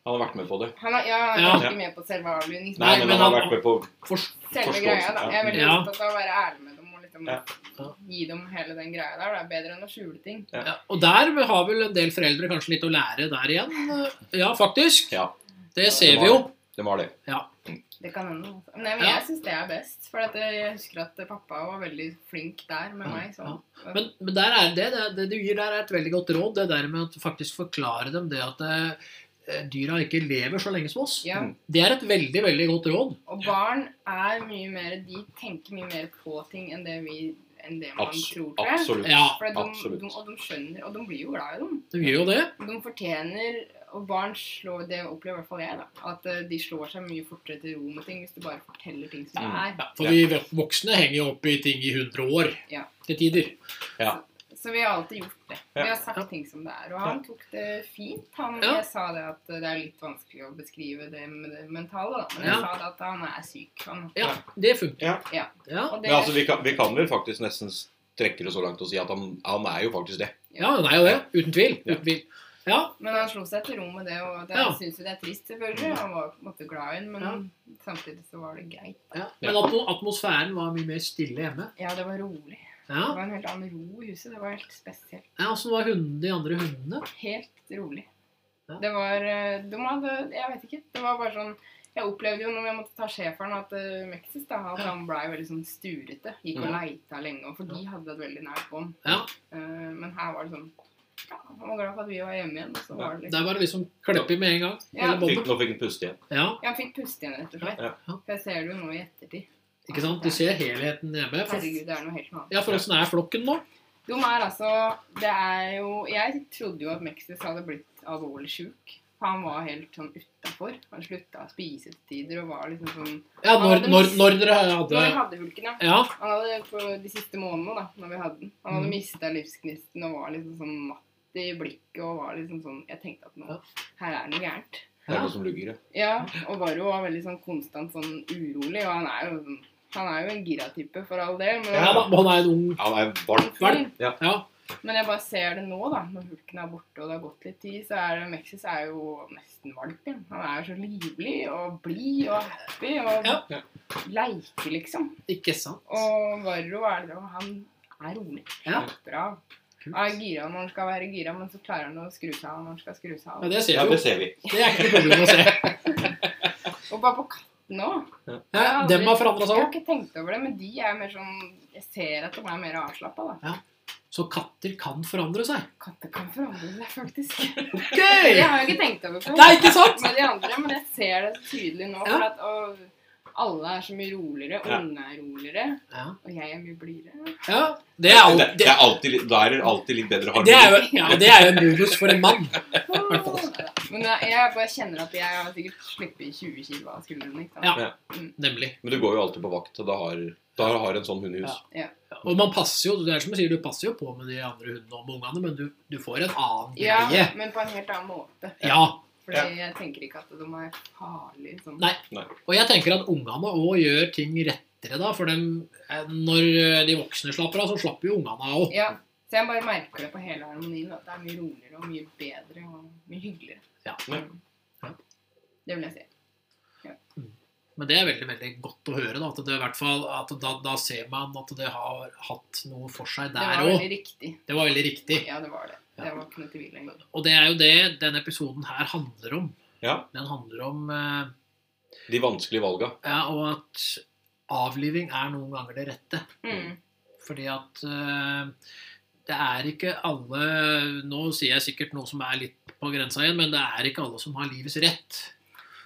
Han har vært med på det.
han er, Ja, han er
Ja.
ikke med på selve avlivningen.
Nei,
Nei,
men
men
han har
han-
vært med på
For,
Selve
forståelse,
greia, da.
ja.
Jeg er veldig
Ja.
opptatt av å være ærlig med dem og liksom
Ja.
Ja.
gi dem hele den greia der. Det er bedre enn å skjule ting.
ja, og der har vel en del foreldre kanskje litt å lære der igjen. Ja, faktisk.
Ja.
Det ser vi jo.
Det var det.
Det kan hende. altså. Men jeg,
Ja.
jeg syns det er best. For at eh, jeg husker at pappa var veldig flink der med
Ja.
meg. Sånn.
Men, men der er det, det, det du gir der, er et veldig godt råd. Det der med å faktisk forklare dem det at eh, dyra ikke lever så lenge som oss.
Ja.
Det er et veldig, veldig godt råd.
Og barn er mye mer De tenker mye mer på ting enn det, vi, enn det man
Abs
tror. tror jeg.
absolutt.
Ja,
For at de,
absolutt.
de, og de skjønner, og de blir jo glad i dem.
de gjør jo det.
De fortjener Og barn slår Det opplever i hvert fall jeg, da. At eh, de slår seg mye fortere til ro med ting hvis du bare forteller ting som det er.
Ja, for vi voksne henger jo opp i ting i 100 år
Ja.
til tider.
Så vi har alltid gjort det. Vi
Ja.
har sagt ting som det er. Og han tok det fint. Han
Ja.
jeg sa det at det er litt vanskelig å beskrive det med det mentale, da. Men
Ja.
jeg sa det at han er syk. Han,
Ja, det funker.
Ja.
Ja.
Ja.
og det,
Men altså, vi kan, vi kan vel faktisk nesten strekke det så langt og si at han, han er jo faktisk det.
Ja, den er jo det. Uten tvil.
Ja.
Uten tvil. Ja,
Men han slo seg til ro med det, og det,
Ja.
jeg syns jo det er trist, selvfølgelig. Han var på en måte glad i den, men samtidig så var det greit.
ja. Men atmo atmosfæren var mye mer stille hjemme.
Ja, det var rolig.
Ja,
Det var en helt annen ro i huset. Det var helt spesielt.
ja Åssen var hundene, de andre hundene?
Helt rolig.
Ja.
Det var eh, De hadde Jeg vet ikke. Det var bare sånn Jeg opplevde jo når jeg måtte ta schæferen, at eh, Mexis da, at han blei veldig sånn sturete. Gikk og
Ja.
leita lenge, og for de hadde et veldig nært bånd.
Ja,
Eh, Men her var det sånn ja, Han var glad for at vi var hjemme igjen, og så var det litt
Der var det liksom klepp i med en gang.
Ja.
Hele
Fikk,
båndet.
nå fikk han puste igjen.
Ja,
Ja, han fikk puste igjen, rett og slett.
Ja.
Ja.
For jeg ser det jo nå i ettertid.
ikke sant? Du ser helheten hjemme. For,
Herregud, det er noe helt annet.
ja, for åssen er flokken nå?
De er altså Det er jo Jeg trodde jo at Mexis hadde blitt alvorlig sjuk. Han var helt sånn utafor. Han slutta å spise til tider og var liksom sånn
Ja, når, når, når dere
Når vi
hadde
hadde hulken, ja.
Ja,
Han hadde på de siste månedene, da, når vi hadde den Han
Mhm.
hadde mista livsgnisten og var liksom sånn matt i blikket og var liksom sånn Jeg tenkte at nå
Ja.
Her er det noe gærent.
Det er
Ja.
noe som lugger, ja.
Ja, og Varro var veldig sånn konstant sånn urolig, og han er jo sånn han er jo en gira-type for all del, men,
ja da, han er en ung
Han er varm.
valp.
Ja.
Ja.
men jeg bare ser det nå, da. Når hulken er borte og det har gått litt tid, så er det Mexis er jo nesten valp igjen. Han er jo så livlig og blid og happy og
Ja.
Ja.
leker, liksom.
Ikke sant?
Og Varro er det, og han er rolig.
Ja.
Bra. er gira når han skal være gira, men så klarer han å skru seg av når han skal skru seg av.
Ja, det ser
Ja,
vi
det
jo.
ser vi.
Det er ikke noe problem å se.
Og bare på kattene òg.
Hæ? Dem har forandra
Jeg
seg
har
òg.
ikke tenkt over det, men de er mer sånn Jeg ser at de er mer avslappa, da.
Så katter kan forandre seg.
Katter kan forandre seg, faktisk.
Ok!
Det har jeg ikke tenkt over før.
Nei, ikke sant?
Med de andre, men jeg ser det så tydelig nå.
Ja.
For at og, alle er så mye roligere.
Ja.
Ungene er roligere.
Ja.
Og jeg er mye blidere.
ja. Det er jo
Det, det
det,
er alltid, da er det alltid litt bedre
det er
harmoni.
jo, ja, det er jo en bonus for en mann.
Men jeg, jeg bare kjenner at jeg har sikkert sluppet 20 kilo av skuldrene. Ikke sant?
Ja. Nemlig.
Men du går jo alltid på vakt, og da har, da har en sånn hund i hus.
Og man passer jo det er som du sier, du passer jo på med de andre hundene og med ungene, men du, du får en annen
Ja,
greie.
men på en helt annen måte.
Ja.
Fordi jeg tenker ikke at de er farlige. Sånn.
Nei. Og jeg tenker at ungene òg gjør ting rettere da, for dem, eh, når eh, de voksne slapper av, så slapper jo ungene av òg.
Ja. Så jeg bare merker det på hele harmonien. At det er mye roligere og mye bedre og mye hyggeligere.
Ja.
Mm.
Ja.
Det vil jeg si.
Men det er veldig veldig godt å høre. Da at det i hvert fall, at da, da ser man at det har hatt noe for seg
Det var
der òg.
veldig riktig.
Det var veldig riktig.
Ja, det var det. Det
Ja.
var ikke noe tvil engang.
Og det er jo det denne episoden her handler om.
Ja.
Den handler om eh,
De vanskelige valga.
ja, og at avliving er noen ganger det rette.
Mm.
Fordi at eh, det er ikke alle Nå sier jeg sikkert noe som er litt på grensa igjen, men det er ikke alle som har livets rett.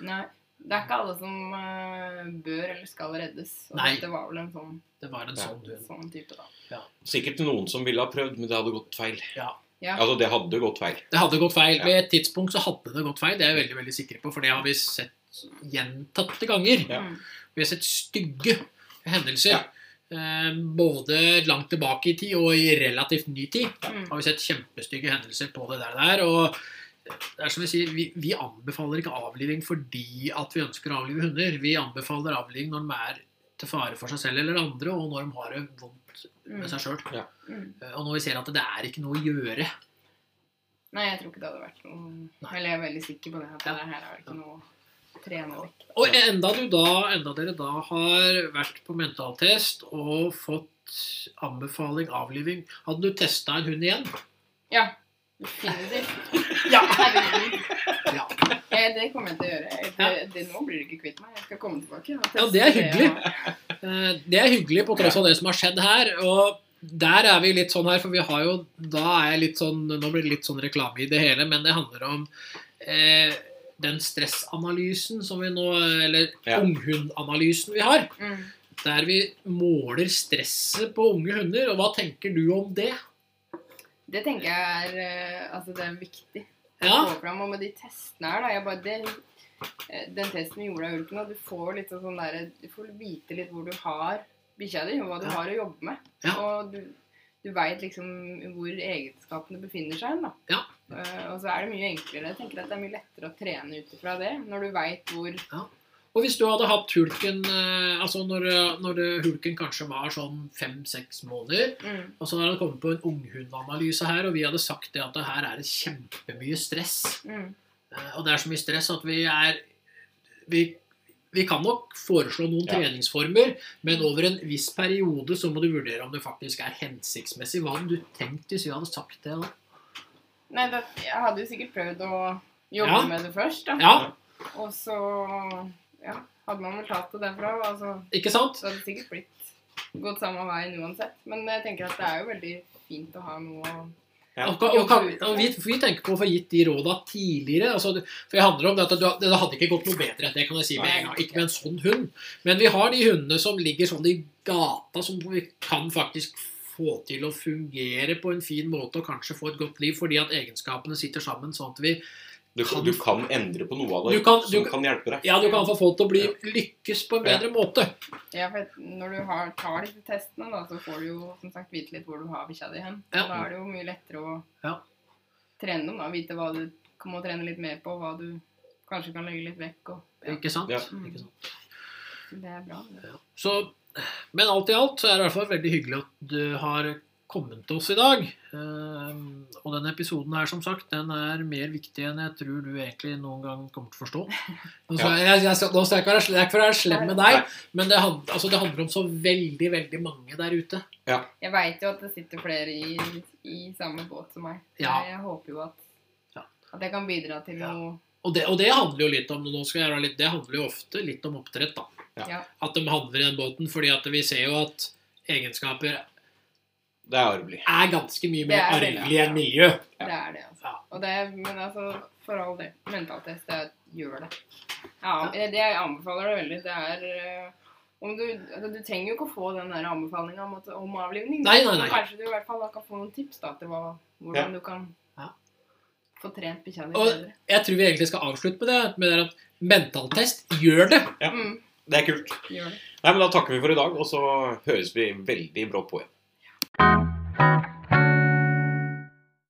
Nei. Det er ikke alle som eh, bør eller skal reddes. Og
Nei.
dette var vel en sånn,
Det var en
Ja.
sånn hund.
sånn type, da.
Sikkert noen som ville ha prøvd, men det hadde gått feil.
Ja.
Ja.
Altså, det hadde gått feil.
Det hadde gått feil.
Ja.
Ved et tidspunkt så hadde det gått feil. Det er jeg veldig veldig sikre på, for det har vi sett gjentatte ganger.
Ja.
Mm.
Vi har sett stygge hendelser. Eh, både langt tilbake i tid og i relativt ny tid
Mm.
har vi sett kjempestygge hendelser på det der. der og det er som Vi sier, vi, vi anbefaler ikke avliving fordi at vi ønsker å avlive hunder. Vi anbefaler avliving når de er til fare for seg selv eller andre, og når de har det vondt
Mm.
med seg sjøl.
Mm.
Og når vi ser at det er ikke noe å gjøre.
Nei, jeg tror ikke det hadde vært noe
Nei.
Eller jeg er veldig sikker på det. At
Ja.
det her er ikke noe å trene vekk.
Og enda, du da, enda dere da har vært på mentaltest og fått anbefaling avliving, hadde du testa en hund igjen?
Ja. Definitivt.
Ja.
Herregud.
Ja.
Eh, Det kommer jeg til å gjøre. Det, det, nå blir du ikke kvitt meg. Jeg skal komme tilbake.
Ja,
og teste
det er
jeg
hyggelig.
har.
Eh, Det er hyggelig på tross av det som har skjedd her. Og der er vi litt sånn her, for vi har jo Da er jeg litt sånn Nå blir det litt sånn reklame i det hele, men det handler om eh, den stressanalysen som vi nå Eller
Ja.
unghundanalysen vi har.
Mm.
Der vi måler stresset på unge hunder. Og hva tenker du om det?
Det tenker jeg er eh, Altså, det er viktig.
Ja.
Få fram, og med de testene her, da jeg bare, det, eh, Den testen vi gjorde av ulken, og du får litt sånn der, du får vite litt hvor du har bikkja di, og hva du
Ja.
har å jobbe med.
Ja.
Og du, du veit liksom hvor egenskapene befinner seg hen, da.
Ja.
Eh, og så er det mye enklere. Jeg tenker at det er mye lettere å trene ut ifra det, når du veit hvor
Og hvis du hadde hatt hulken eh, altså når, eh, når eh, hulken kanskje var sånn fem-seks måneder,
mm,
og så hadde det kommet på en unghundanalyse her, og vi hadde sagt det at det her er det kjempemye stress.
mm,
Eh, Og det er så mye stress at vi er Vi, vi kan nok foreslå noen
Ja.
treningsformer, men over en viss periode så må du vurdere om det faktisk er hensiktsmessig. Hva hadde du tenkt hvis vi hadde sagt det? da?
Nei, da, jeg hadde jo sikkert prøvd å jobbe
Ja.
med det først, da.
Ja,
Og så ja, hadde man vel tatt det derfra. altså...
ikke sant?
Så hadde det sikkert blitt gått samme veien uansett. Men jeg tenker at det er jo veldig fint å ha noe å
Ja.
Og, og, og, og vi, vi tenker på å få gitt de råda tidligere. Altså, det- for det handler om det at du, det hadde ikke gått noe bedre. Det kan jeg si med en gang. Ikke med en sånn hund. Men vi har de hundene som ligger sånn i gata, som vi kan faktisk få til å fungere på en fin måte og kanskje få et godt liv fordi at egenskapene sitter sammen. sånn at vi
Du, kan- du kan endre på noe av det
Du kan-
som
du-
kan hjelpe deg.
Ja, du kan få folk til å bli lykkes på en bedre måte.
Ja, for at når du har, tar disse testene, da, så får du jo som sagt vite litt hvor du har bikkja di hen.
Ja.
Og Da er det jo mye lettere å
Ja.
trene dem, da. Vite hva du må trene litt mer på, hva du kanskje kan legge litt vekk. Og, ja,
Ikke sant?
Ja.
Ikke sant?
det er bra. Det.
Så, men alt i alt så er det i hvert fall veldig hyggelig at du har kommet til oss i dag. Eh, Og denne episoden her, som sagt, den er mer viktig enn jeg tror du egentlig noen gang kommer til å forstå. Nå skal jeg, jeg, skal- nå skal jeg ikke være sle- jeg er ikke for å være slem med deg, men det, hand- altså, det handler om så veldig, veldig mange der ute.
Jeg veit jo at det sitter flere i, i samme båt som meg. Så
Ja.
Jeg, jeg håper jo at,
Ja.
at jeg kan bidra til
Ja.
noe.
Og det, og det handler jo litt om nå skal jeg gjøre litt, det handler jo ofte litt om oppdrett, da.
Ja.
Ja.
At de handler i den båten, fordi at vi ser jo at egenskaper
Det er arvelig.
er ganske mye
Det
mer
er veldig-
arvelig enn miljø.
Ja.
Det er det, altså.
Ja.
Og det, men altså, for all del, mentaltest, det gjør det. Ja, det jeg anbefaler det veldig. Det er øh, om du, altså, du trenger jo ikke å få den der anbefalinga om, at- om avlivning.
Nei, nei, nei.
Kanskje du i hvert fall da kan få noen tips da, til hva, hvordan
Ja.
du kan
Ja.
få trent bikkja di
Og-
bedre.
Jeg tror vi egentlig skal avslutte med det. Med det at mentaltest gjør det.
Ja.
Mm,
Det er kult.
gjør det.
Nei, men Da takker vi for i dag, og så høres vi veldig brått på igjen.